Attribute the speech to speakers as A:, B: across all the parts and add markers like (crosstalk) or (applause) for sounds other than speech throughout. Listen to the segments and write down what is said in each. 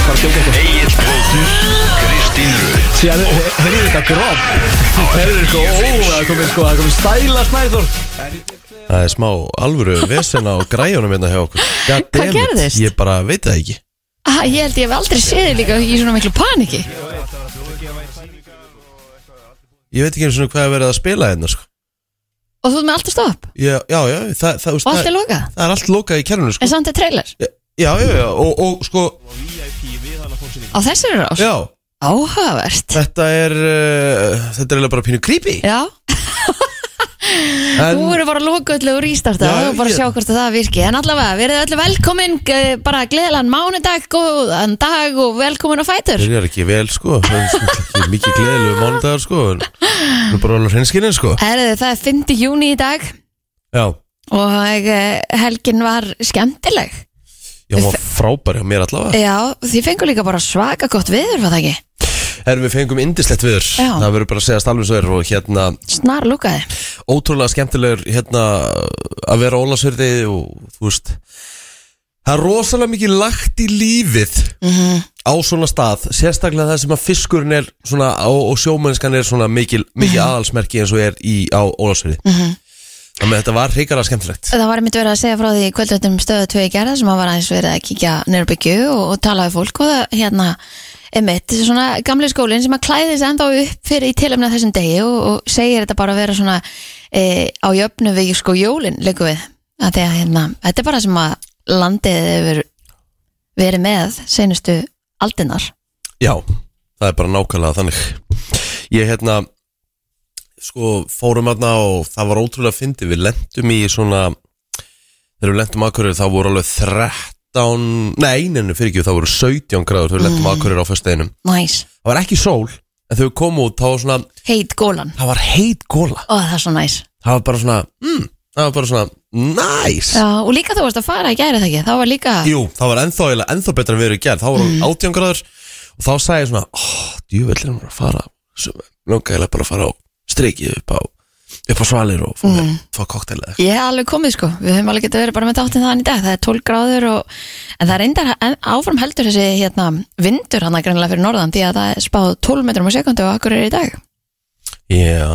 A: skjóta
B: Egil Blóður Kristín Rut Ah,
A: Sér, þeir eru þetta gróf Þeir eru sko, ó, það er komið sko, það er komið stæla snæður
C: Það er smá alvöru vesen á græjunum hérna hjá okkur God damn it.
D: gerðist?
C: Ég bara veit það ekki
D: Ah, ég held ég hef aldrei séð þig líka í svona miklu paniki
C: Ég veit ekki einu svona hvað er verið að spila hérna sko.
D: og þú ert með allt að stopp
C: Já, já, já það, það,
D: og allt er
C: það,
D: lokað
C: það er allt lokað í kerfinu sko.
D: en samt er trailer
C: Já, já, já, já og, og sko,
D: á þessari rás
C: já
D: áhugavert
C: Þetta er uh, Þetta er eiginlega bara pínu creepy
D: já,
C: en,
D: þú eru bara að loka öllu og rístarta
C: Já,
D: og bara
C: ég-
D: sjá hvort að það virki en allavega, verið öllu velkomin g- bara gleðilegan mánudag, góðan dag og velkomin á fætur
C: Byrjar ekki vel sko Það er svona ekki Mikið gleðilegu mánudagar sko en Nú bara alveg hreinskinin sko
D: Herðu, það er 5. júni í dag
C: Já
D: og eh, helgin var skemmtileg
C: Já, hún var frábær hjá mér allavega
D: já, þið fengur líka bara svaka gott viður var það ekki,
C: Erum við fengum indislegt viður
D: Já.
C: Það verður bara að segja alveg svo er Og hérna
D: snar lukaði
C: ótrúlega skemmtilegur hérna að vera ólasverði og þú veist það er rosalega mikið lagt í lífið á svona stað sérstaklega það sem að fiskurinn er svona og, og sjómennskan er svona mikil, mikið aðalsmerki eins og er í, á ólasverði þannig að þetta var hreikara skemmtilegt
D: Það var einmitt verið að segja frá því kvöldvöldum stöðu 2 í gerða sem að var aðeins verið að kíkja nýra byggju og, og tala við fólk og það hérna einmitt, svona gamli skólinn sem að klæði þess enda upp fyrir í tilöfna þessum degi og, og segir þetta bara að vera svona e, á jöfnu við sko jólinn leikum við, að því að hérna þetta er bara sem að landið hefur verið með seinustu aldinnar.
C: já, það er bara nákvæmlega þannig ég hérna sko fórum aðna og það var ótrúlega fyndið við lendum í svona þegar við lendum akkurir þá voru alveg 13, nei, neinu fyrir ekki þá voru 17 gráður þegar við lendum akkurir á föstudeginum
D: Næs,
C: það var ekki sól en þegar við komum út þá var svona
D: heit gólan
C: það var heit góla,
D: Ó, það er svo næs.
C: það var bara svona mm, það var bara svona, næs
D: Já, og líka þú varst að fara í gæri það ekki, þá var líka
C: jú, það var ennþá, eiginlega ennþá betra en við erum gerð þá voru 18 gráður og þá sagði ég svona oh, djúvellir hann var að fara langaðilega bara að fara á streikið upp á upp á svalir og fá, mm. fá koktel eða eitthvað.
D: Ég hef alveg komið sko, við höfum alveg getið verið bara með þáttinn þannig í dag, það er 12 gráður og, en það er reyndar en áfram heldur þessi hérna, vindur hann að greinlega fyrir norðan því að það er spáð 12 metrum á sekundu og akkur er í dag.
C: já,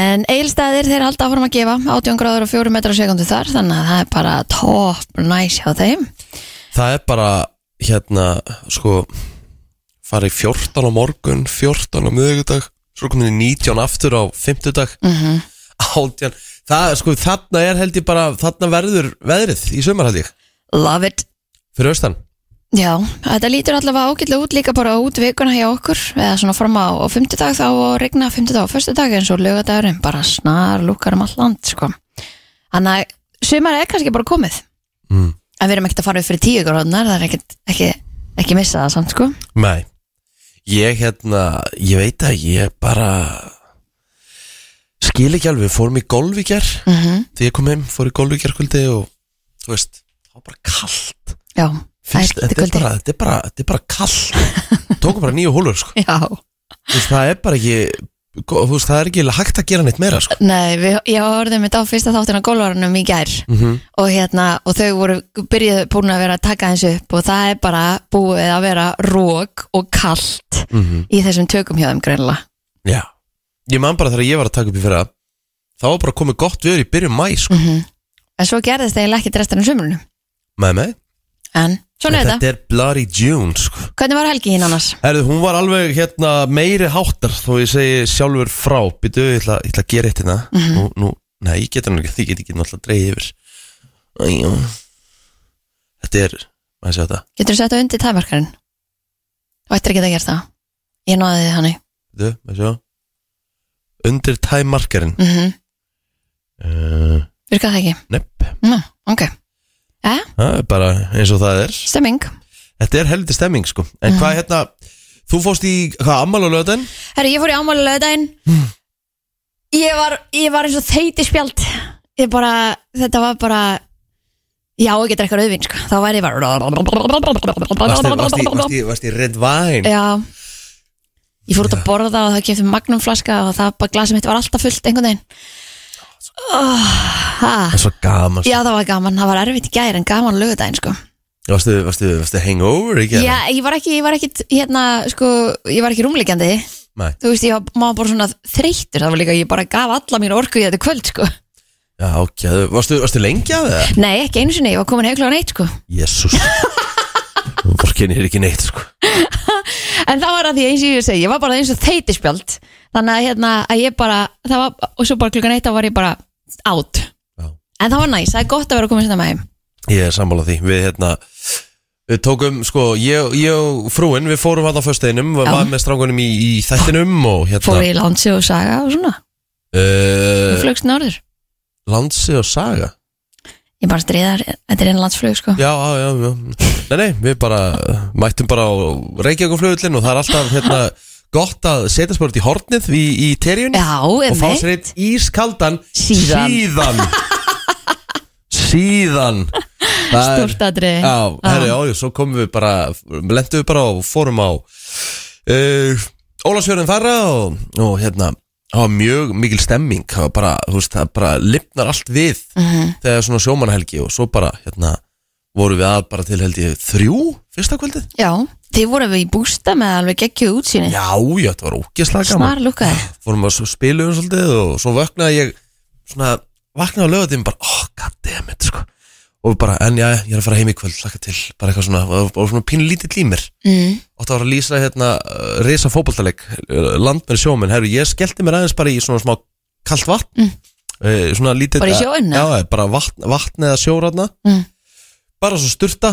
D: En eilstæðir þeir halda áfram að gefa 18 gráður og 4 metrum á sekundu þar þannig að það er bara topp næs hjá þeim.
C: það er bara hérna, sko farið 14 á morgun 14 á miðvikudag, svo komið 19 aftur á 50 (laughs) dag
D: Mhm.
C: 18, það, sko, þarna er held ég bara, þarna verður veðrið í sumar held ég,
D: Love it.
C: fyrir austan
D: Já, þetta lítur allavega ágætlega út líka bara út vikuna hjá okkur eða svona fram á, á 50 dag þá og regna 50 dag og 1. dag eins og lögadagurinn bara snar lúkar um allt land sko. Þannig að sumar er kannski bara komið
C: Mm.
D: en við erum ekkert að fara upp fyrir 10 grónar það er ekkert, ekki, ekki missa það samt sko.
C: Nei, ég hérna, ég veit að ég bara skil ekki alveg, fórum í golf í ger
D: mm -hmm.
C: þegar ég kom heim, fór í golf í gerkvöldi og þú veist, það var bara kallt
D: Já, það er
C: Fyrst,
D: ekkert
C: þetta, er
D: kvöldi
C: bara, þetta, er bara, þetta er bara kallt tókum bara nýju hólur sko.
D: Já,
C: Þú veist, það er bara ekki go- þú veist, það er ekki hægt að gera neitt meira sko.
D: nei, við, ég orðið mitt á fyrsta þáttina gólvarunum í gær
C: mm -hmm.
D: og hérna, og þau voru byrjuð búin að vera að taka eins upp og það er bara búið að vera rók og kallt
C: Mm
D: í þessum tökum hjá þeim greinlega
C: Já, ég man bara þegar ég var að taka upp í fyrra þá var bara komið gott viður í byrjun mæ
D: Mhm.
C: sko.
D: en svo gerðist eiginlega ekkert restan um sömurinu
C: með með,
D: en svona er þetta,
C: þetta er bloody June sko.
D: hvernig var helgi hín annars?
C: Herðu, hún var alveg hérna meiri háttar þó ég segi sjálfur frá býtu, ég ætla, ég ætla að gera eitt hérna
D: Mhm.
C: nú, nú, nei, ég geta hann ekki, því get ekki náttúrulega dreigð yfir Æjó. Þetta er, maður sé þetta
D: Getur þú setta undir tæmarkarinn? og ættir ekki að gera það ég náði því hannig
C: Býtu, maður sé undir time markerinn
D: mm -hmm.
C: uh,
D: virkað það ekki?
C: nepp,
D: Ná, ok,
C: það er bara eins og það er
D: stemming
C: Þetta er helviti stemming sko En hvað
D: Mhm.
C: hérna, þú fórst í hvað ammála löðin?
D: herru, ég fór í ámáli lögdæin
C: Hmm.
D: ég, var, ég var eins og þeiti spjald ég bara, þetta var bara já, ég getur eitthvað auðvinn sko. þá væri ég bara
C: Varst í, varst í, varst í, varst í red wine
D: Já Ég fór út að borða og það kefti magnum flaska og það bara glasið mitt var alltaf fullt einhvern veginn Ah, oh, ha.
C: Það er svo gaman sko.
D: Já það var gaman, það var erfitt í gæri en gaman lögudaginn sko
C: Varstu, varstu, varstu hangover ekki?
D: Já, ég var ekki, ég var ekki, hérna, sko, ég var ekki rúmleikjandi
C: Nei.
D: Þú veist, ég var, maður bara svona þreytur Það var líka, ég bara gaf alla mín orku í þetta kvöld, sko
C: Já, ok, varstu, varstu lengi af það?
D: Nei, ekki einu sinni, ég var komin heiklugan eitt, sko
C: Jésús Vorkin er ekki neitt sko
D: En það var að því eins og ég segi, ég var bara eins og þeytispjald Þannig að hérna, að ég bara, það var, og svo bara klukkan eitt þá var ég bara out
C: Já.
D: En það var næs, það er gott að vera komin sinna með heim
C: Ég er sammála því Við hérna Við tókum sko Ég, ég og frúin Við fórum hann á föstuðinum Við
D: Já.
C: varum með strákunum í, í þættinum Og
D: Fór
C: hérna
D: í landsi og saga og svona
C: uh,
D: Og flugst norður
C: Landsi og saga
D: Ég bara stríðar, þetta er einn landsflug, sko
C: Já, já, já, já Nei, nei Við bara uh, Mættum bara á Reykjavík og flugvillin Og það er alltaf hérna Gott að setja spurt í hornið Í, í terjunni
D: Já,
C: Og
D: er
C: fá sér eitt ískaldan
D: Síðan.
C: Síðan Síðan Það er-
D: Stórt atriði
C: Já, herri, já, já, svo komum við bara Lendum við bara og fórum á uh, Ólafsjörðin þarra og, og hérna Það var mjög mikil stemming Það var bara, þú veist, það bara lifnar allt við Þegar svona sjómanhelgi Og svo bara, hérna Voru við að bara til held ég þrjú Fyrsta kvöldið
D: Já, þið voru við í bústa með alveg geggjuð útsýni
C: Já, já, þetta var ógeðslega gaman
D: Snar lukkaði
C: fórum að spila um svolítið og svo vaknaði ég svona, vaknaði á lögatíðum bara, oh goddammit sko. og bara, en já, ég er að fara heim í kvöld laka til, bara eitthvað svona, og, og svona pínu lítið límir,
D: mm.
C: og það var að lýsa hérna, uh, risa fótboltaleg landmenn sjóminn, herru, ég skellti mér aðeins bara í svona smá kalt vatn
D: Mm.
C: mm. svona lítið, eh,
D: Bara í sjóinn,
C: já, bara vatn, vatn eða sjóratna
D: Mm.
C: bara svo sturta,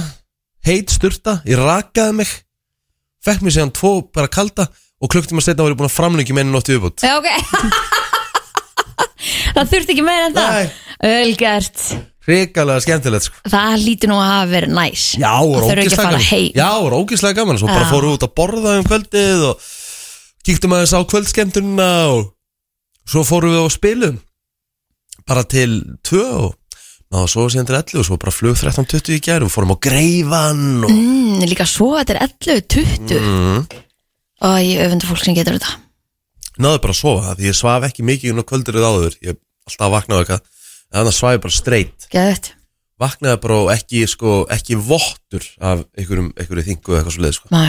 C: heit sturta ég rakaði mig fekk mér síðan tvo bara kalda og klukktum að setna var ég búin að framlengi með einu nóttu viðbútt
D: Já, ok (laughs) Það þurfti ekki meira en það
C: Nei.
D: Ölgert
C: Ríkalega skemmtilegt sko.
D: Það lítur nú að hafa verið næs
C: Já,
D: Það
C: var
D: þurfi ekki að
C: ógeðslega
D: fara
C: gaman
D: heim.
C: Já, var ógeðslega gaman Svo bara
D: Já.
C: fórum við út að borða um kvöldið og kíktum aðeins á kvöldskemmtunina og svo fórum við á spilum bara til tvö og náðu svo síðan til 11 og svo bara flug 13.20 í gær og fórum á greifan og
D: mm, Líka svo, þetta er 11, 20
C: mm.
D: Og ég öfundu fólk sem getur þetta
C: náðu bara að sofa það því ég svaf ekki mikið um kvöldir eða áður ég alltaf vaknaði eitthvað en þannig svaf ég bara streitt
D: Geðvægt
C: vaknaði bara og ekki, sko, ekki vottur af einhverjum, einhverju þingu eða eitthvað svo leið sko.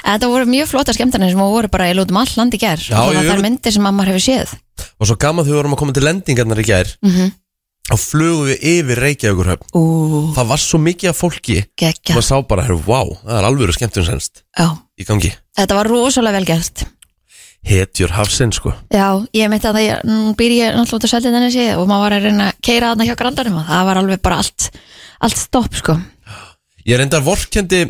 D: Þetta voru mjög flotta skemmtarnir sem voru bara í lútum all landi ger
C: Já, ég
D: Þannig að það er
C: öfund-
D: myndir sem mamma hefur séð
C: og svo gaman þegar við vorum að koma til lendingarnar í gær
D: mm -hmm.
C: og flugum við yfir
D: Mm.
C: Reykjavíkurhöfn
D: Ú,
C: það var svo mikið af fólki
D: geggja
C: maður sá bara, herr, wow, það er alvöru skemmtun senst
D: Já.
C: í gangi,
D: Þetta var rosalega vel gert
C: hetjur hafsinn sko
D: Já, ég meinti að það ég, nú býr ég náttúrulega út að selja þenni og maður var að reyna að keira þarna hjá grandanum og það var alveg bara allt, allt stopp sko.
C: ég er enda vorkendi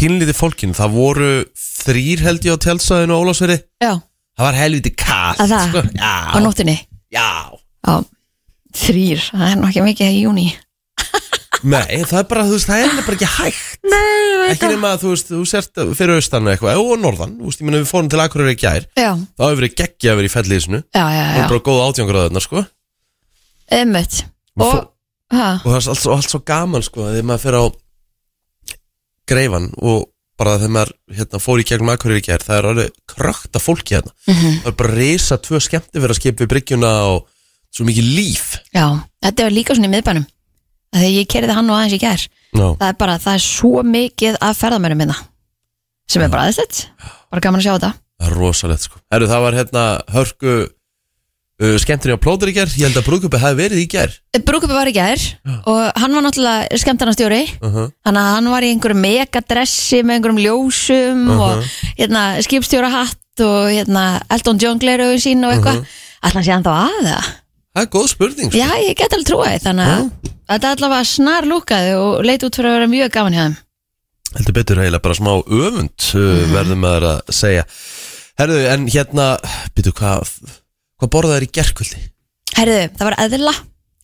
C: pínlítið fólkin, það voru þrýr held ég á tjálsaðinu og Ólafsveri
D: Já,
C: það var helviti kall
D: Að það?
C: sko.
D: á
C: já,
D: nóttinni.
C: já
D: Já, þrýr, það er nú ekki mikið í júni.
C: nei, það er bara, þú veist, það er bara ekki hægt nei, ekki nema að þú veist, þú sért fyrir austan eða eitthvað, og norðan, þú veist, ég minna við fórum til Akureyri í gær,
D: Já,
C: þá hefur verið geggja að vera í fellísinu,
D: já, já,
C: það er
D: já,
C: bara góð átjöngraðurna sko
D: ummitt.
C: Og
D: Og,
C: fó-
D: hæ,
C: og það er allt, svo- allt svo gaman sko þegar maður fyrir á greifan og bara þegar maður hérna, fór í gegnum akkurir í gær það er alveg krökt af fólki hérna
D: Mhm,
C: það er bara reysa tvö skemmti verið að skipa við bryggjuna og svo mikið líf
D: já, þetta var líka svona í miðbænum. Af Þegar ég kerði hann og aðeins í gær.
C: no.
D: Það er bara, það er svo mikið að ferðamörum minna sem er bara aðeinslegt. Bara gaman að sjá þetta.
C: það er rosalegt sko Heru, það var hérna hörku uh, skemmtinu á plóður í gær ég held að brúkupi hafi verið í gær
D: Brúkupi Eh, var í gær og hann var náttúrulega skemmtarnastjóri
C: uh -huh.
D: Þannig að hann var í einhverjum megadressi með einhverjum ljósum og hérna, skipstjóra hatt og hérna, Elton John gleraugu sín og eitthvað. Uh -huh. Ætla hann sé hann þá að það?
C: það er góð spurning sko.
D: Já, ég get alveg trúið þannig að þetta allavega snar lúkaði og leit út fyrir að vera mjög gaman hjá þeim.
C: heldur betur eiginlega bara smá öfund uh,
D: Mhm.
C: verðum maður að segja herðu en hérna býtu hvað hvað borðað er í gerkvöldi
D: Herðu, það var eðla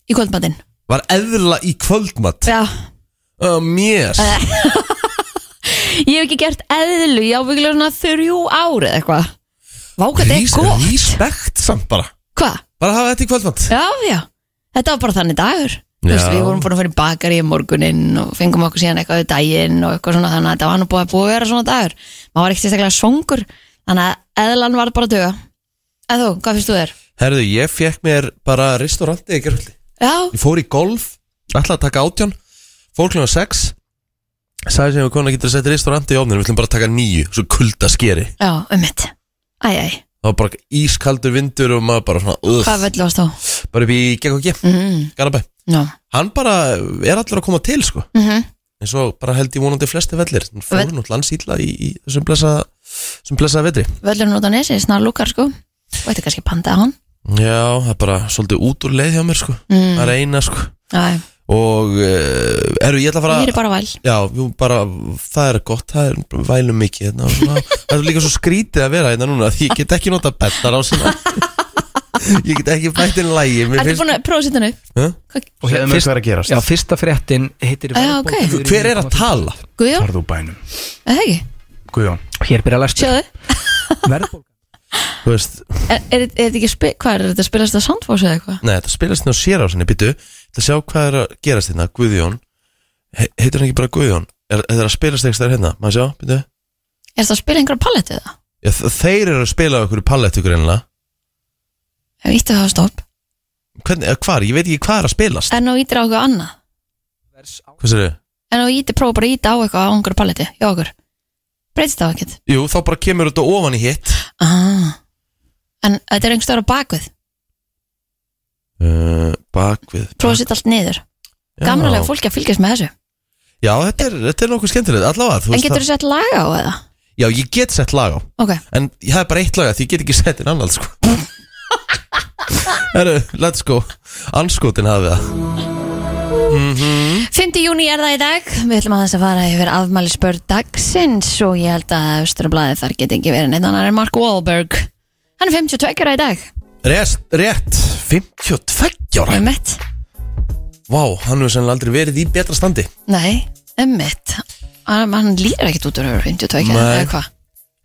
D: í kvöldmatinn.
C: Var eðla í kvöldmatt
D: Já, Eh,
C: um, Yes
D: ég hef ekki gert eðlu, ég ábyggilega svona þrjú ári eða eitthvað. Vá, hvað þetta er gott.
C: Respekt samt bara
D: Hvað?
C: Bara hafa þetta í kvöldmatt
D: Já, já, þetta var bara þannig dagur Þú veist,
C: Já.
D: Við vorum búin að fara í bakari í morguninn og fengum okkur síðan eitthvað í daginn og eitthvað svona þannig að þetta var nú búið að búið að vera svona dagur maður var ekki sérstaklega songur þannig að eðlan var bara að duga En þú, hvað finnst þú þér?
C: Herðu, ég fekk mér bara restauranti í gerfaldi
D: Já,
C: Ég fór í golf Ætlaði að taka átján Fór fór klukkan 6 sagði sem við konar getur að setja restauranti í ofninu við ætlum bara að taka nýju, svo kulda skeri
D: já, um mitt Æ, æ,
C: það var bara ískaldur vindur og maður bara svona
D: hvað
C: uh,
D: völlu ást á?
C: bara upp í GKG,
D: Mm,
C: Garabæ
D: já,
C: hann bara er allir að koma til sko
D: mhm
C: eins og bara held ég vonandi flesti vellir hann fór
D: Völl-
C: náttúrulega ansýtla í, í þessum blessaða þessum blessaða vetri
D: Völlurinn út á nesi, snar lúkar sko og þetta er kannski pandað hann
C: já, það er bara svolítið út úr leið hjá mér sko
D: mm.
C: það er eina sko
D: Æ,
C: og uh, eru ég ætla að fara
D: Ég er bara væl
C: já, jú, bara, það er gott það er vælum mikið hérna, og
D: (laughs)
C: svona, það er líka svo skrítið að vera hérna núna því ég get ekki nota bettar á
D: (laughs)
C: sinna ég get ekki bætt inn lægi mér
D: Ertu
C: finnst-
D: búin að prófa að setja hann upp?
C: Hæ?
E: Og hérna mörg verið að gerast
F: Já, fyrsta fréttin heitir
D: Já,
F: verðbólga fyrir
D: ok.
C: hver er að
F: 9,5%.
C: tala?
D: Guðjón,
E: Farðu úr bænum
D: eða ekki?
E: Guðjón
F: Hér byrja að lesta
D: Sjáðu,
F: Verðbólga
C: þú veist,
D: er, er, er þetta ekki spi, hvað er þetta að spilast á Sandfossu eða eitthvað?
C: Nei, þetta spilast hérna á sér á sinni, byttu Það sjá hvað er að gerast hérna, Guðjón He Heitur hann ekki bara Guðjón? Er, er það að spilast ekki stær hérna? Maður sjá, byttu
D: Er þetta að spila einhverja pallet eða?
C: Já, þ- Þeir eru að spila á ykkur pallet ykkur einlega
D: Ef ítti það á stopp
C: Hvernig, eða hvar, ég veit ekki hvað er að spilast
D: En á ítir á eitthvað annað
C: Hvað sér
D: En á ítir, prófa bara að íta á eitthvað á einhverju palleti Já, okkur Breytist það ekkert
C: Jú, þá bara kemur þetta ofan í hitt
D: ah. En þetta er einhver stöður á bakvið
C: uh, Bakvið
D: Prófa að setja allt niður
C: Já.
D: Gamnalega fólki að fylgjast með þessu
C: Já, þetta er, þetta er nokkuð skemmtilegt, allavega þú
D: En
C: veist
D: getur þú sett laga á eða?
C: það- Já, ég get sett lag á
D: Ok,
C: En ég hef bara eitt lag að því ég get ekki sett inn annað sko. (laughs) Herru, let's go Anskotin hafið það Mhm.
D: 5. júni er það í dag Við ætlum aðeins að fara yfir afmæli spörð dagsins og ég held að Östurablaði þar geti ekki verið neitt annar en Mark Wahlberg Hann er 52 ára í dag Um
C: Rétt, rétt 52 ára
D: Ömmett
C: Vá, hann hefur sennilega aldrei verið í betra standi
D: Nei, ömmett Hann, hann líður ekkert út úr að vera 52 ára
C: Nei.
D: eða hvað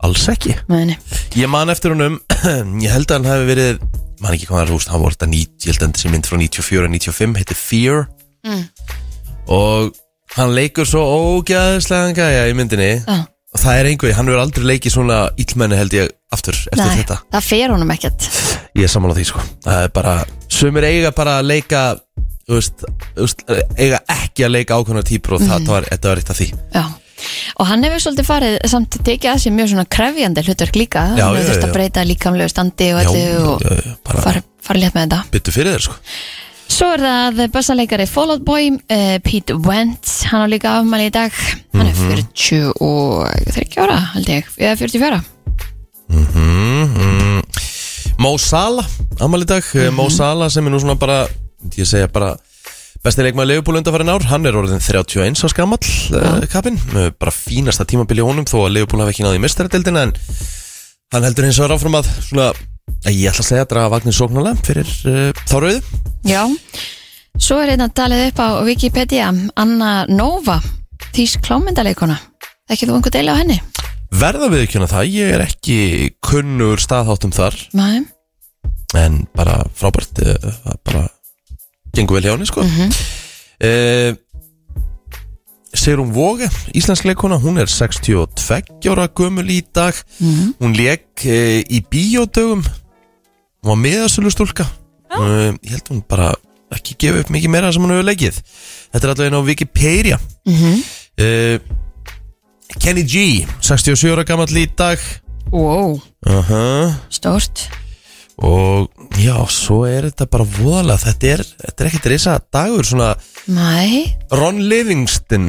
C: Alls ekki
D: Nei, nei.
C: Ég man eftir honum (clears throat) Ég held að hann hefði verið Man ekki hvað hann rúst Hann voru þetta 90 Ég held að hann sé mynd frá 94 og 95 Heitir Fear Og hann leikur svo ógæðislega gæja í myndinni
D: Já.
C: Og það er einhver Hann hefur aldrei leikið svona illmenni held ég aftur Eftir
D: nei
C: þetta
D: það fer honum ekkert
C: Ég er sammála því sko Það er bara Sumir eiga bara að leika Þú veist, þú veist, eiga ekki að leika ákveðna típur og það, það var, þetta var eitt af því
D: Já Og hann hefur svolítið farið samt tekið að sér mjög svona krefjandi hlutverk líka
C: Já,
D: Hann
C: já,
D: hefur
C: já.
D: þurft að breyta líkamlegu standi og öllu og
C: já, já, bara
D: fara far létt með þetta
C: byttu fyrir þér sko
D: Svo er það bassaleikari Fall Out Boy, uh, Pete Wentz, hann á líka afmæli í dag, hann er 43 ára, held ég, eða 44.
C: Mhm, Mo Salah, amal í dag Eh, Mo Salah sem er nú svona bara myndi ég segja bara besti leikmaður Leifbúl undanfærin ár, hann er orðin 31 á skamall uh, kapinn, uh, bara fínasta tímabili honum þó að Leifbúl hafi ekki náði í mestaradeldina en hann heldur hins vegar áfram að svona, að ég ætla að segja að draga vagnir sóknarlega fyrir uh, þá rauðu
D: Já. Svo er hérna talið upp á Wikipedia, Anna Nova, þýsk klámyndaleikona. Ekki þú einhver deila á henni?
C: verða við ekki hana það, ég er ekki kunnur staðháttum þar,
D: Nei.
C: en bara frábært uh, það bara gengur vel hjá henni sko uh, Sigrun Vóge, íslensk leikona, hún er 62 ára gömul í dag
D: Mhm.
C: Hún leik uh, í bíódögum Hún var miðasölu stúlka uh, Ég held hún bara ekki gefa upp mikið meira sem hún hefur leikið Þetta er allavega inn á Wikipedia uh, Kenny G, 67 ára gamall í dag
D: Wow,
C: Aha
D: stórt.
C: og já, svo er þetta bara voðalega, þetta er, þetta er ekkert reysa dagur, svona
D: Nei.
C: Ron Livingston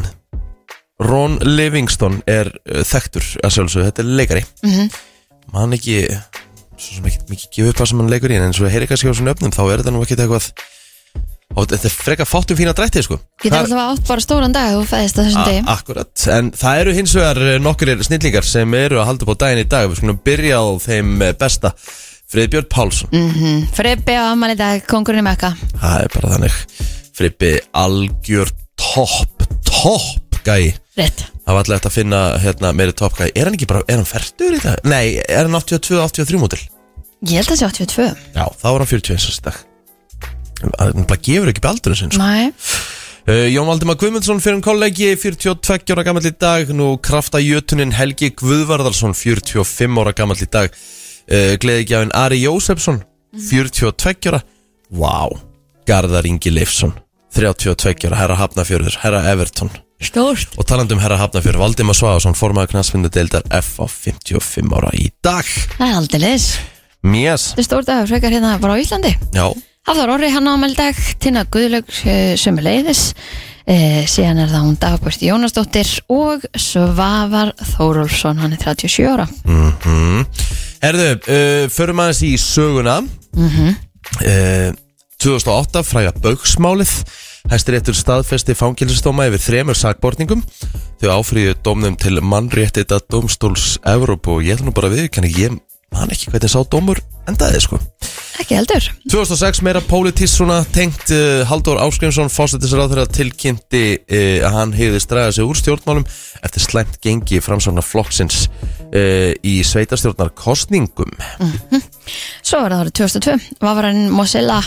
C: Ron Livingston er uh, þektur, að sjálfsögðu, þetta er leikari mm -hmm. mann ekki svo sem ekki mikið gefið upp hvað sem hann leikur í en eins og heyri kannski á svona öfnum, þá er þetta nú ekkert eitthvað og þetta er freka fátum fína drætti sko.
D: Getur
C: Það-
D: alltaf átt bara stóran dag og fæðist að þessum degi.
C: A- Akkurat, en það eru hins vegar eh, nokkur snillingar sem eru að halda upp á daginn í dag við skulum byrja á þeim eh, besta Friðbjörn Pálsson
D: Freybi á afmæli í dag, kongurinn í Mekka.
C: Það er bara þannig Frippi algjör topp, topp gæi
D: Rétt.
C: Það var alltaf hægt að finna hérna, meiri topp gæi Er hann ekki bara, er hann færtur í dag? Nei, er hann 82, 83 mótil?
D: Ég held að það sé 82.
C: Já, þá er hann 41 þessi dag Hann bara gefur ekki bealdurinn sinn sko.
D: Nei.
C: uh, Jón Valdimar Guðmundsson fyrir um kollegi 42 ára gamall í dag Nú krafta jötunin Helgi Guðvarðarsson 45 ára gamall í dag uh, Gleðigjafin Ari Jósefsson 42 ára Vá, Garðar Ingi Leifsson 32 ára, herra Hafnafjörður, herra Everton
D: Stórt
C: og talandum herra Hafnafjörður, Valdimar Svaðarsson formaður knastfindu deildar F á 55 ára í dag
D: Það er aldeilis
C: Mjæs,
D: Þetta er stórt að frekar hérna bara á Íslandi
C: já,
D: Hafþór Orri hann á ámeldag Tina Guðlaug sömu leiðis e, síðan er það hún Dagbjörn Jónasdóttir og Svavar Þórólfsson hann er 37 ára
C: mhm. herðu uh, förum aðeins í söguna uh, 2008 fræga bauksmálið Hæstiréttur staðfesti fangilsistóma yfir þremur sakborningum þau áfríðu dómnum til mannréttita dómstóls Evrópu og ég ætla nú bara við kannig ég man ekki hvernig sá dómur endaði sko
D: ekki heldur
C: 2006 meira pólitísk svona tengt uh, Haldur Áskrimsson, fósættisráður að tilkynnti uh, að hann hefði stræðið sig úr stjórnmálum eftir slæmt gengi framsána flokksins uh, í sveitastjórnar kostningum
D: svo var það árið 2002 Vavarinn Mozilla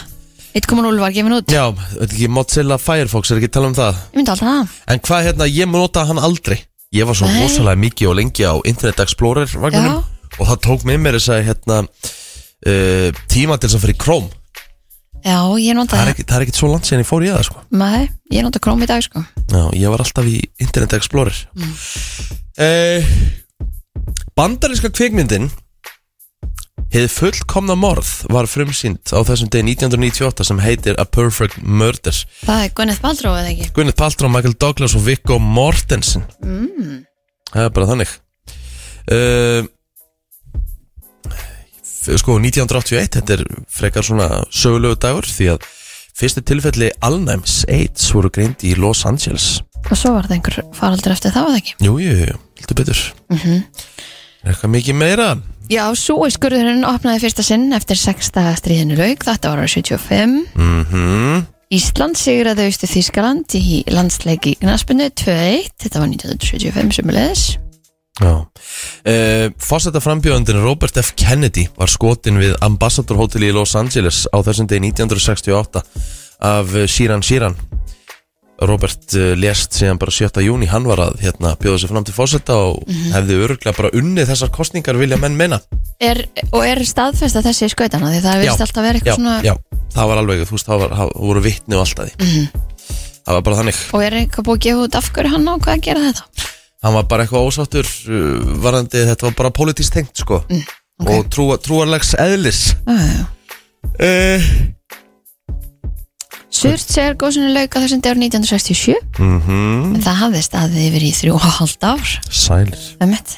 D: 1.0 var gefin út
C: Já, veit ekki, Mozilla Firefox er ekki að tala um það
D: ég myndi alltaf það
C: En hvað hérna, ég nota hann aldrei Ég var svo
D: Nei.
C: rosalega mikið og lengi á Internet Explorer vagninum og það tók með mér þess að hérna uh, tíma til þess að fyrir Chrome
D: já ég nota
C: Það er
D: það
C: ekkit- það er ekkit svo langt sem ég fór í það sko
D: Nei, ég nota Chrome í dag sko
C: Já, ég var alltaf í Internet Explorer mm. eh, Bandarinska kvikmyndin Heið fullkomna morð var frumsýnd á þessum degi 1998 sem heitir A Perfect Murder
D: það er Gwyneth Paltrow eða ekki
C: Gwyneth Paltrow, Michael Douglas og Viggo Mortensen mm. Það er bara þannig uh, Sko, 1981 þetta er frekar svona sögulegu dagur því að fyrstu tilfelli alnæms AIDS voru greind í Los Angeles
D: og svo var það einhver faraldur eftir það var það ekki
C: Jú, jú, jú, heldur betur mm
D: Mhm.
C: Er eitthvað mikið meira?
D: já, Súiskurðurinn opnaði fyrsta sinn eftir sexta stríðinu lauk þetta var árið 75
C: Mhm
D: Ísland sigraði austu Þískaland í landsleiki Gnaspinu 2-1 þetta var 1975 sumulegis
C: Já uh, Fossetta frambjöðundin Robert F. Kennedy var skotin við ambassadorhóteli í Los Angeles á þessum degi 1968 af eh, Sheeran Sheeran Robert uh, lést síðan bara 7. júni hann var að hérna, bjóða sig fram til fósetta og
D: Mhm.
C: hefði öruglega bara unnið þessar kostningar vilja menn menna
D: er, og er staðfest að þessi í skautana því það virðist alltaf vera
C: já,
D: eitthvað svona
C: já, það var alveg, þú veist, það, var, það voru vitni og alltaf því
D: Mhm.
C: Það var bara þannig
D: og er eitthvað búið að gefa út af hverju hann á hvað að gera þetta
C: hann var bara eitthvað ósáttur uh, varandi, þetta var bara politískt tengt sko
D: Mm, ok.
C: og trúa, trúarlegs eðlis
D: uh, Eh.
C: uh,
D: Surt segir góðsunu lauk á þessum dagur 1967
C: Mhm.
D: en það hafði staðið yfir í þrjú og halvt ár
C: Sælir
D: með mitt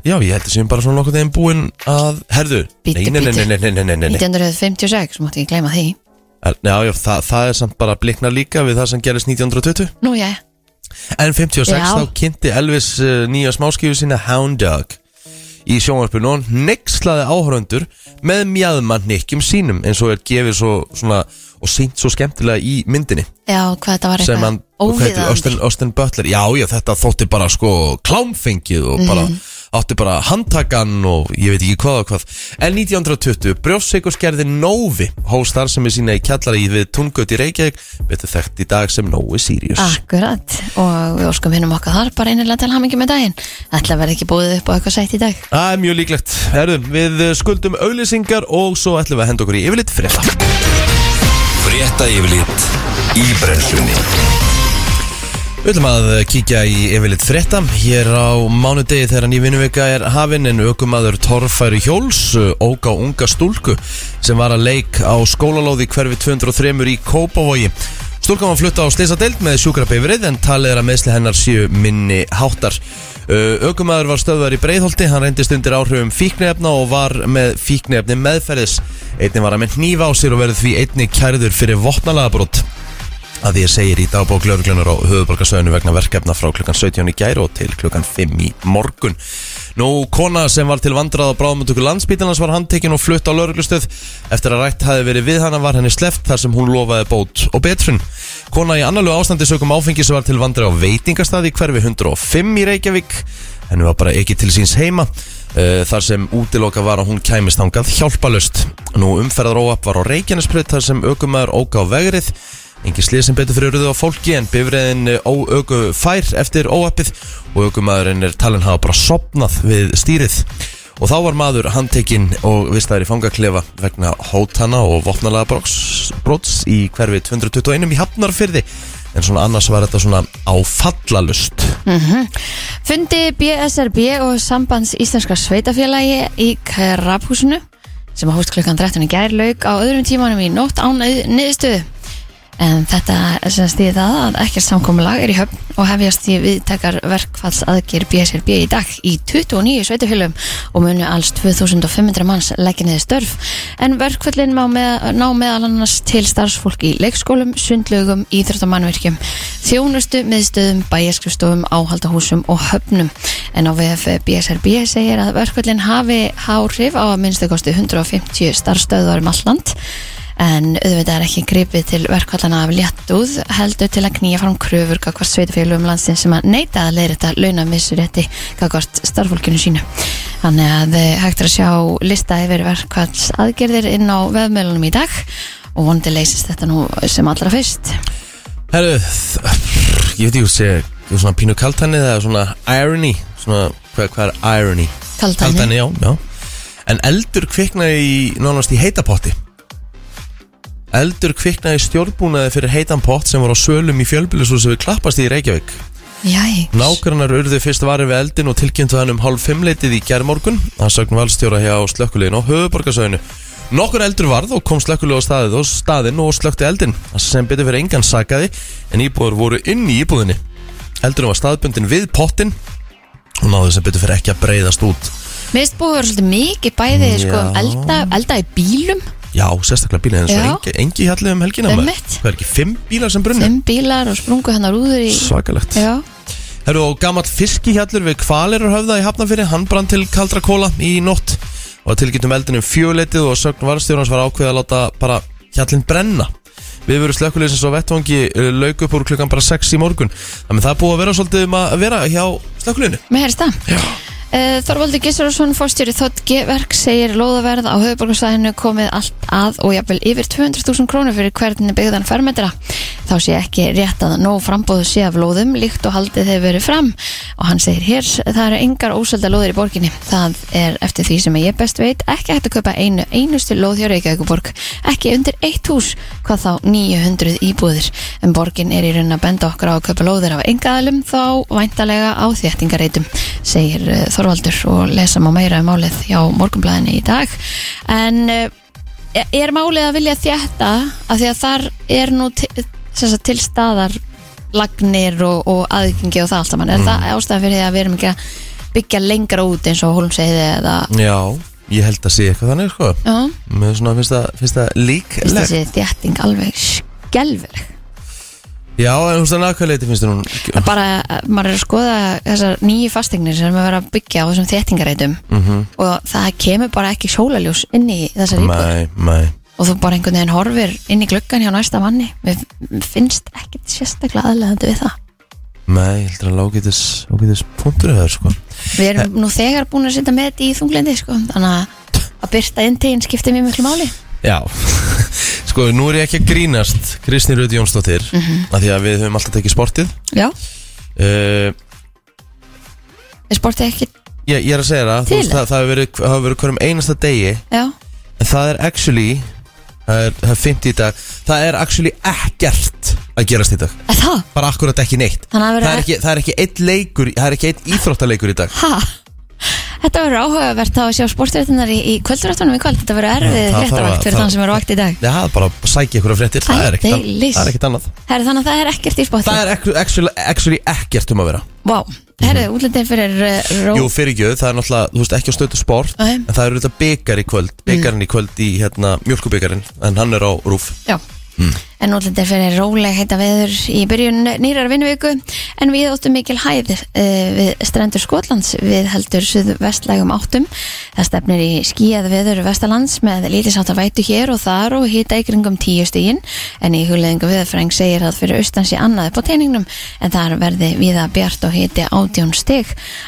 C: Já, ég held að séum bara svona nokkuð einn búinn að Herðu,
D: Bíddu,
C: nei, nei, nei, nei,
D: bíddu.
C: nei, nei, nei, nei, nei.
D: 1956, þú mátti ekki gleyma því
C: Er- Já, já, það, það er samt bara blikna líka við það sem gerist 1920
D: Nú já,
C: En 56
D: Já.
C: þá kynnti Elvis uh, nýja smáskífu sína Hound Dog í sjónvarpinu og hann nexlaði áhörundur með mjadmannikkjum sínum eins og er gefið svo svona og sínt svo skemmtilega í myndinni
D: já, hvað þetta var
C: sem
D: eitthvað
C: hann, hvað heitir, Austin, Austin Butler já, já, þetta þótti bara sko klámfengið og bara, átti bara handtakan og ég veit ekki hvað og hvað en 1920, brjófsseikurskerði Nóvi, hóst þar sem er sína í kjallari við Tungöt í Reykjavík betur þekkt í dag sem Nói Sirius
D: Ah. Akkurat og við óskum hinnum okkar þar bara einilega til hamingi með daginn Ætla verði ekki búið upp á eitthvað sætt í dag
C: Það er mjög líklegt, herðum, við eh, skuldum auglýsingar og svo ætlum við að henda okkur í yfirleitt frétta
B: Frétta yfirlit í brennslunni
C: Við ætlum að kíkja í yfirleitt frétta Hér á mánudegi þegar ný vinnuvika er hafin en aukumadur Torfæri Hjóls uh, ók á unga stúlku sem var að leik á skólalóði hverfi 203 í Kópavogi Stúlkan var flutta á slisadeild með sjúkrabifrið en talið er að meðsli hennar séu minni háttar Uh, Ökumaður var stöðvar í Breiðholti, hann reyndist undir áhrifum fíknefna og var með fíknefni meðferðis. Einnig var hann með hnífa á sér og verði því einnig kærður fyrir vopnalagabrótt að því ég segir í dagbók lauruglunar á höfuborgarsöðinu vegna verkefna frá klukkan 17 í gæru og til klukkan 5 í morgun. Nú, kona sem var til vandrað á bráðmöndtöku landsbítalans var handtekinn og flutt á lauruglustöð. Eftir að rætt hafi verið við hana var henni sleft þar sem hún lofaði bót og betrun. Kona í annarlu ástandi sögum áfengi sem var til vandrað á veitingastaði í hverfi 105 í Reykjavík. Henni var bara ekki til síns heima eh, þar sem útiloka var að hún kæmist hangað hjálpalust. Nú umferðaróap var á Reykjanesbreyt þar sem aukumæður óka á vegrið Engi slið sem betur fyrir urðu á fólki en eh, bifriðin óöku fær eftir óappið og aukumæðurinn er talin hafa bara sopnað við stýrið Og þá var maður handtekinn og vistaður í fangaklefa vegna hótana og vopnalega brots, brots í hverfi 221 í Hafnarfyrði En svona annars var þetta svona áfallalust
D: Mhm. Fundi BSRB og Sambands Íslenska Sveitafélagi í Krabhúsinu sem hóst klukkan 13 í gær lauk á öðrum tímanum í nótt án niðurstöðu. En þetta sem stýði það að ekkert samkomulag er í höfn og hefjast í viðtekar verkfallsaðgir BSRB í dag í 29 sveitufélum og munu alls 2500 manns leggja niður störf. En verkfallin má með, ná meðal annars til starfsfólk í leikskólum, sundlögum, íþróttamannvirkjum, þjónustu, miðstöðum, bæjarskrifstofum, áhaldahúsum og höfnum. En á VF BSRB segir að verkfallin hafi hárif á að minnstu kosti 150 starfstöðvar um allt land en auðvitað er ekki gripið til verkvallana af léttúð heldur til að knýja fram kröfur gagvart sveitufélugum landsin sem að neita að leira þetta launamissurétti gagvart starfólkinu sínu. Þannig að eh, hægt er að sjá lista yfir verkvallsaðgerðir inn á vefmjölunum í dag og vondi leysist þetta nú sem allra fyrst.
C: Herru, þ- ég veit ekki hvað sé svona pínu kaltæni eða svona irony svona, hvað, hvað er irony?
D: Kaldani.
C: Kaltæni, já, já En eldur kviknaði í, nánast í heitapotti Eldur kviknaði í stjórnbúnaði fyrir heitan pott sem var á sölum í fjölbýlisúsi við klappast í Reykjavík
D: Jæks.
C: Nágrannar urðu fyrst varið við eldin og tilkynntu hann um hálf fimmleitið í gærmorgun að sögn valstjóra hjá slökkulegin á höfuborgarsöðinu. Nokkur eldur varð og kom slökkulega á staðið og staðinn og slökkti eldin sem betur fyrir engan sakaði en íbúður voru inn í íbúðinni. Eldurinn var staðbundin við pottin og náðu sem betur fyrir ekki að breyðast út.
D: Mér finnst búið að vera svolítið mikið bæði sko, um
C: Já.
D: elda, elda í bílum,
C: Já, sérstaklega bílinn eins
D: Já.
C: og engi, engi hjallið um helgina. maður.
D: Einmitt.
C: Hvað er ekki, fimm bílar sem brunni?
D: fimm bílar og sprungu hennar úður í...
C: Svakalegt.
D: Já,
C: Herru og gammal fiskihjallur við Kvalerarhöfða í Hafnafyrir, hann brann til kaldra kóla í nótt og tilkynntum eldinum fjöleitið og sögn varstjórnans var ákveðið að láta bara hjallin brenna. Við verum slökkulegisins á vettvangi uh, lauk upp úr klukkan bara 6 í morgun. Þannig það er búið að vera svolítið um að vera hjá slökkuleginu.
D: mér heyrst það.
C: Já.
D: Eh, Þorvaldur Gissurarsson, fórstjóri Þotgi verk segir lóðaverð á höfuborgarsvæðinu komið allt að og jafnvel yfir 200.000 krónur fyrir hvernig byggðan fermetra. Þá sé ekki rétt að nóg frambóðu sé af lóðum líkt og haldið hefur verið fram og hann segir hér það eru engar óselda lóðir í borginni. Það er eftir því sem ég best veit ekki hægt að kaupa einu einustu lóð hjá Reykjavíkuborg ekki undir eitt hús, hvað þá 900 íbúðir. En borgin er í raun að benda okkur á að kaupa lóðir af engaðalum þá væntalega á þéttingareitum segir eh, Þorvaldur og lesa má meira um málið hjá morgunblæðinni í dag en eh, er málið að vilja þétta af því að þar er nú til, sagt, til staðar lagnir og, og aðgengi og það allt saman er það ástæðan fyrir því að við erum ekki að byggja lengra út eins og hólum segið eða
C: Já, ég held að sé eitthvað þannig, sko.
D: já,
C: Mér svona finnst það, finnst það
D: finnst
C: líklegt.
D: þessi þétting alveg skelvileg
C: Já, en hún stannar að hvað leiti finnst þér hún
D: Það er bara, eh, maður er að skoða þessar nýju fastegnir sem er verið að byggja á þessum þéttingareitum
C: Mhm.
D: -hmm. og það kemur bara ekki sólaljós inn í þessar íbúð
C: Mæ, mæ.
D: og þú bara einhvern veginn horfir inn í gluggan hjá næsta manni mér mér finnst ekkert sérstaklega aðlegandi við það
C: Nei, ég heldur að lágiðis, lágiðis punktur hefur, sko.
D: við erum nú þegar búin að setja með þetta í þunglindi sko. þannig að að byrta inn teginn skiptir mér miklu máli
C: Já, (laughs) sko nú er ég ekki að grínast Kristni Röð Jónsdóttir mm Því að við höfum alltaf tekið sportið
D: já,
C: uh,
D: er sportið ekki
C: ég, ég er að segja það, þú
D: Til
C: veist, það, það hefur verið, það hefur verið hverjum einasta degi
D: já,
C: En það er actually, það er, það er 50 í dag Það er actually ekkert að gerast í dag
D: er það?
C: Bara akkurat ekki neitt
D: Þannig að verið
C: það er ekki, það er ekki eitt leikur, það er ekki eitt íþróttaleikur í dag
D: ha? Þetta verður áhugavert þá að sjá sportréttunar í, í kvölduráttunum í kvöld Þetta verður erfið
C: Já, það þarf að-
D: réttarvakt fyrir
C: það-
D: þann sem er á vakt í dag
C: Já, það er bara að sækja ykkur af fréttir Það er ekkert annað-
D: Aldeilis.
C: það er ekkert annað
D: Herri, Þannig að það er ekkert í sportið
C: Það er actu- actually, actually ekkert um að vera
D: Vá, herri, útlendin fyrir uh, ró
C: Jú, fyrirgjöð, það er náttúrulega, þú veist, ekki á stötu sport
D: Nei. Mm.
C: En það eru þetta byggar í kvöld Byggarinn í kvöld í, hérna, mjölkubikarinn En hann er á rúf
D: Já En útlendir fyrir róleg heita veður í byrjun nýrar vinnuviku en við óttum mikil hæð uh, við strendur Skotlands við heldur suðvestlægum áttum. Það stefnir í skíað veður vestalands með lítisáttar vætu hér og þar og hita í kringum tíu stígin en í hugleðingu viðfræng segir að fyrir austan sé annað upp á teiningnum en þar verði viða bjart og hiti átjón stig.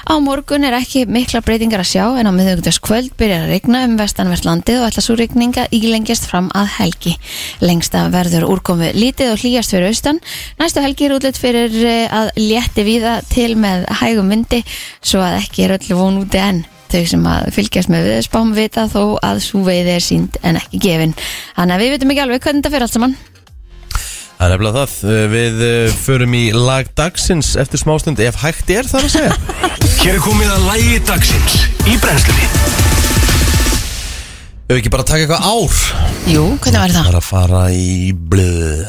D: Á morgun er ekki mikla breytingar að sjá en á miðugdagskvöld byrjar að rigna um vestanvert landið og ætla svo rigninga ílengjast fram að helgi. Lengsta verður úrkomu lítið og hlýjast fyrir austan. Næstu helgi er útlitt fyrir eh, að létti víða til með hægum vindi svo að ekki er öll von úti enn. þau sem að fylgjast með við spám vita þó að svo veiði er sínd en ekki gefin þannig að við veitum ekki alveg hvernig þetta fyrir allt saman
C: Það er nefnilega það, Eh, við eh, förum í lag dagsins eftir smástund ef hægt er þar að (laughs) segja
B: Hér er komið að lægi dagsins í brennslunni
C: Ef ekki bara taka eitthvað ár
D: Jú, hvernig var
C: Það
D: það?
C: er að fara í blöð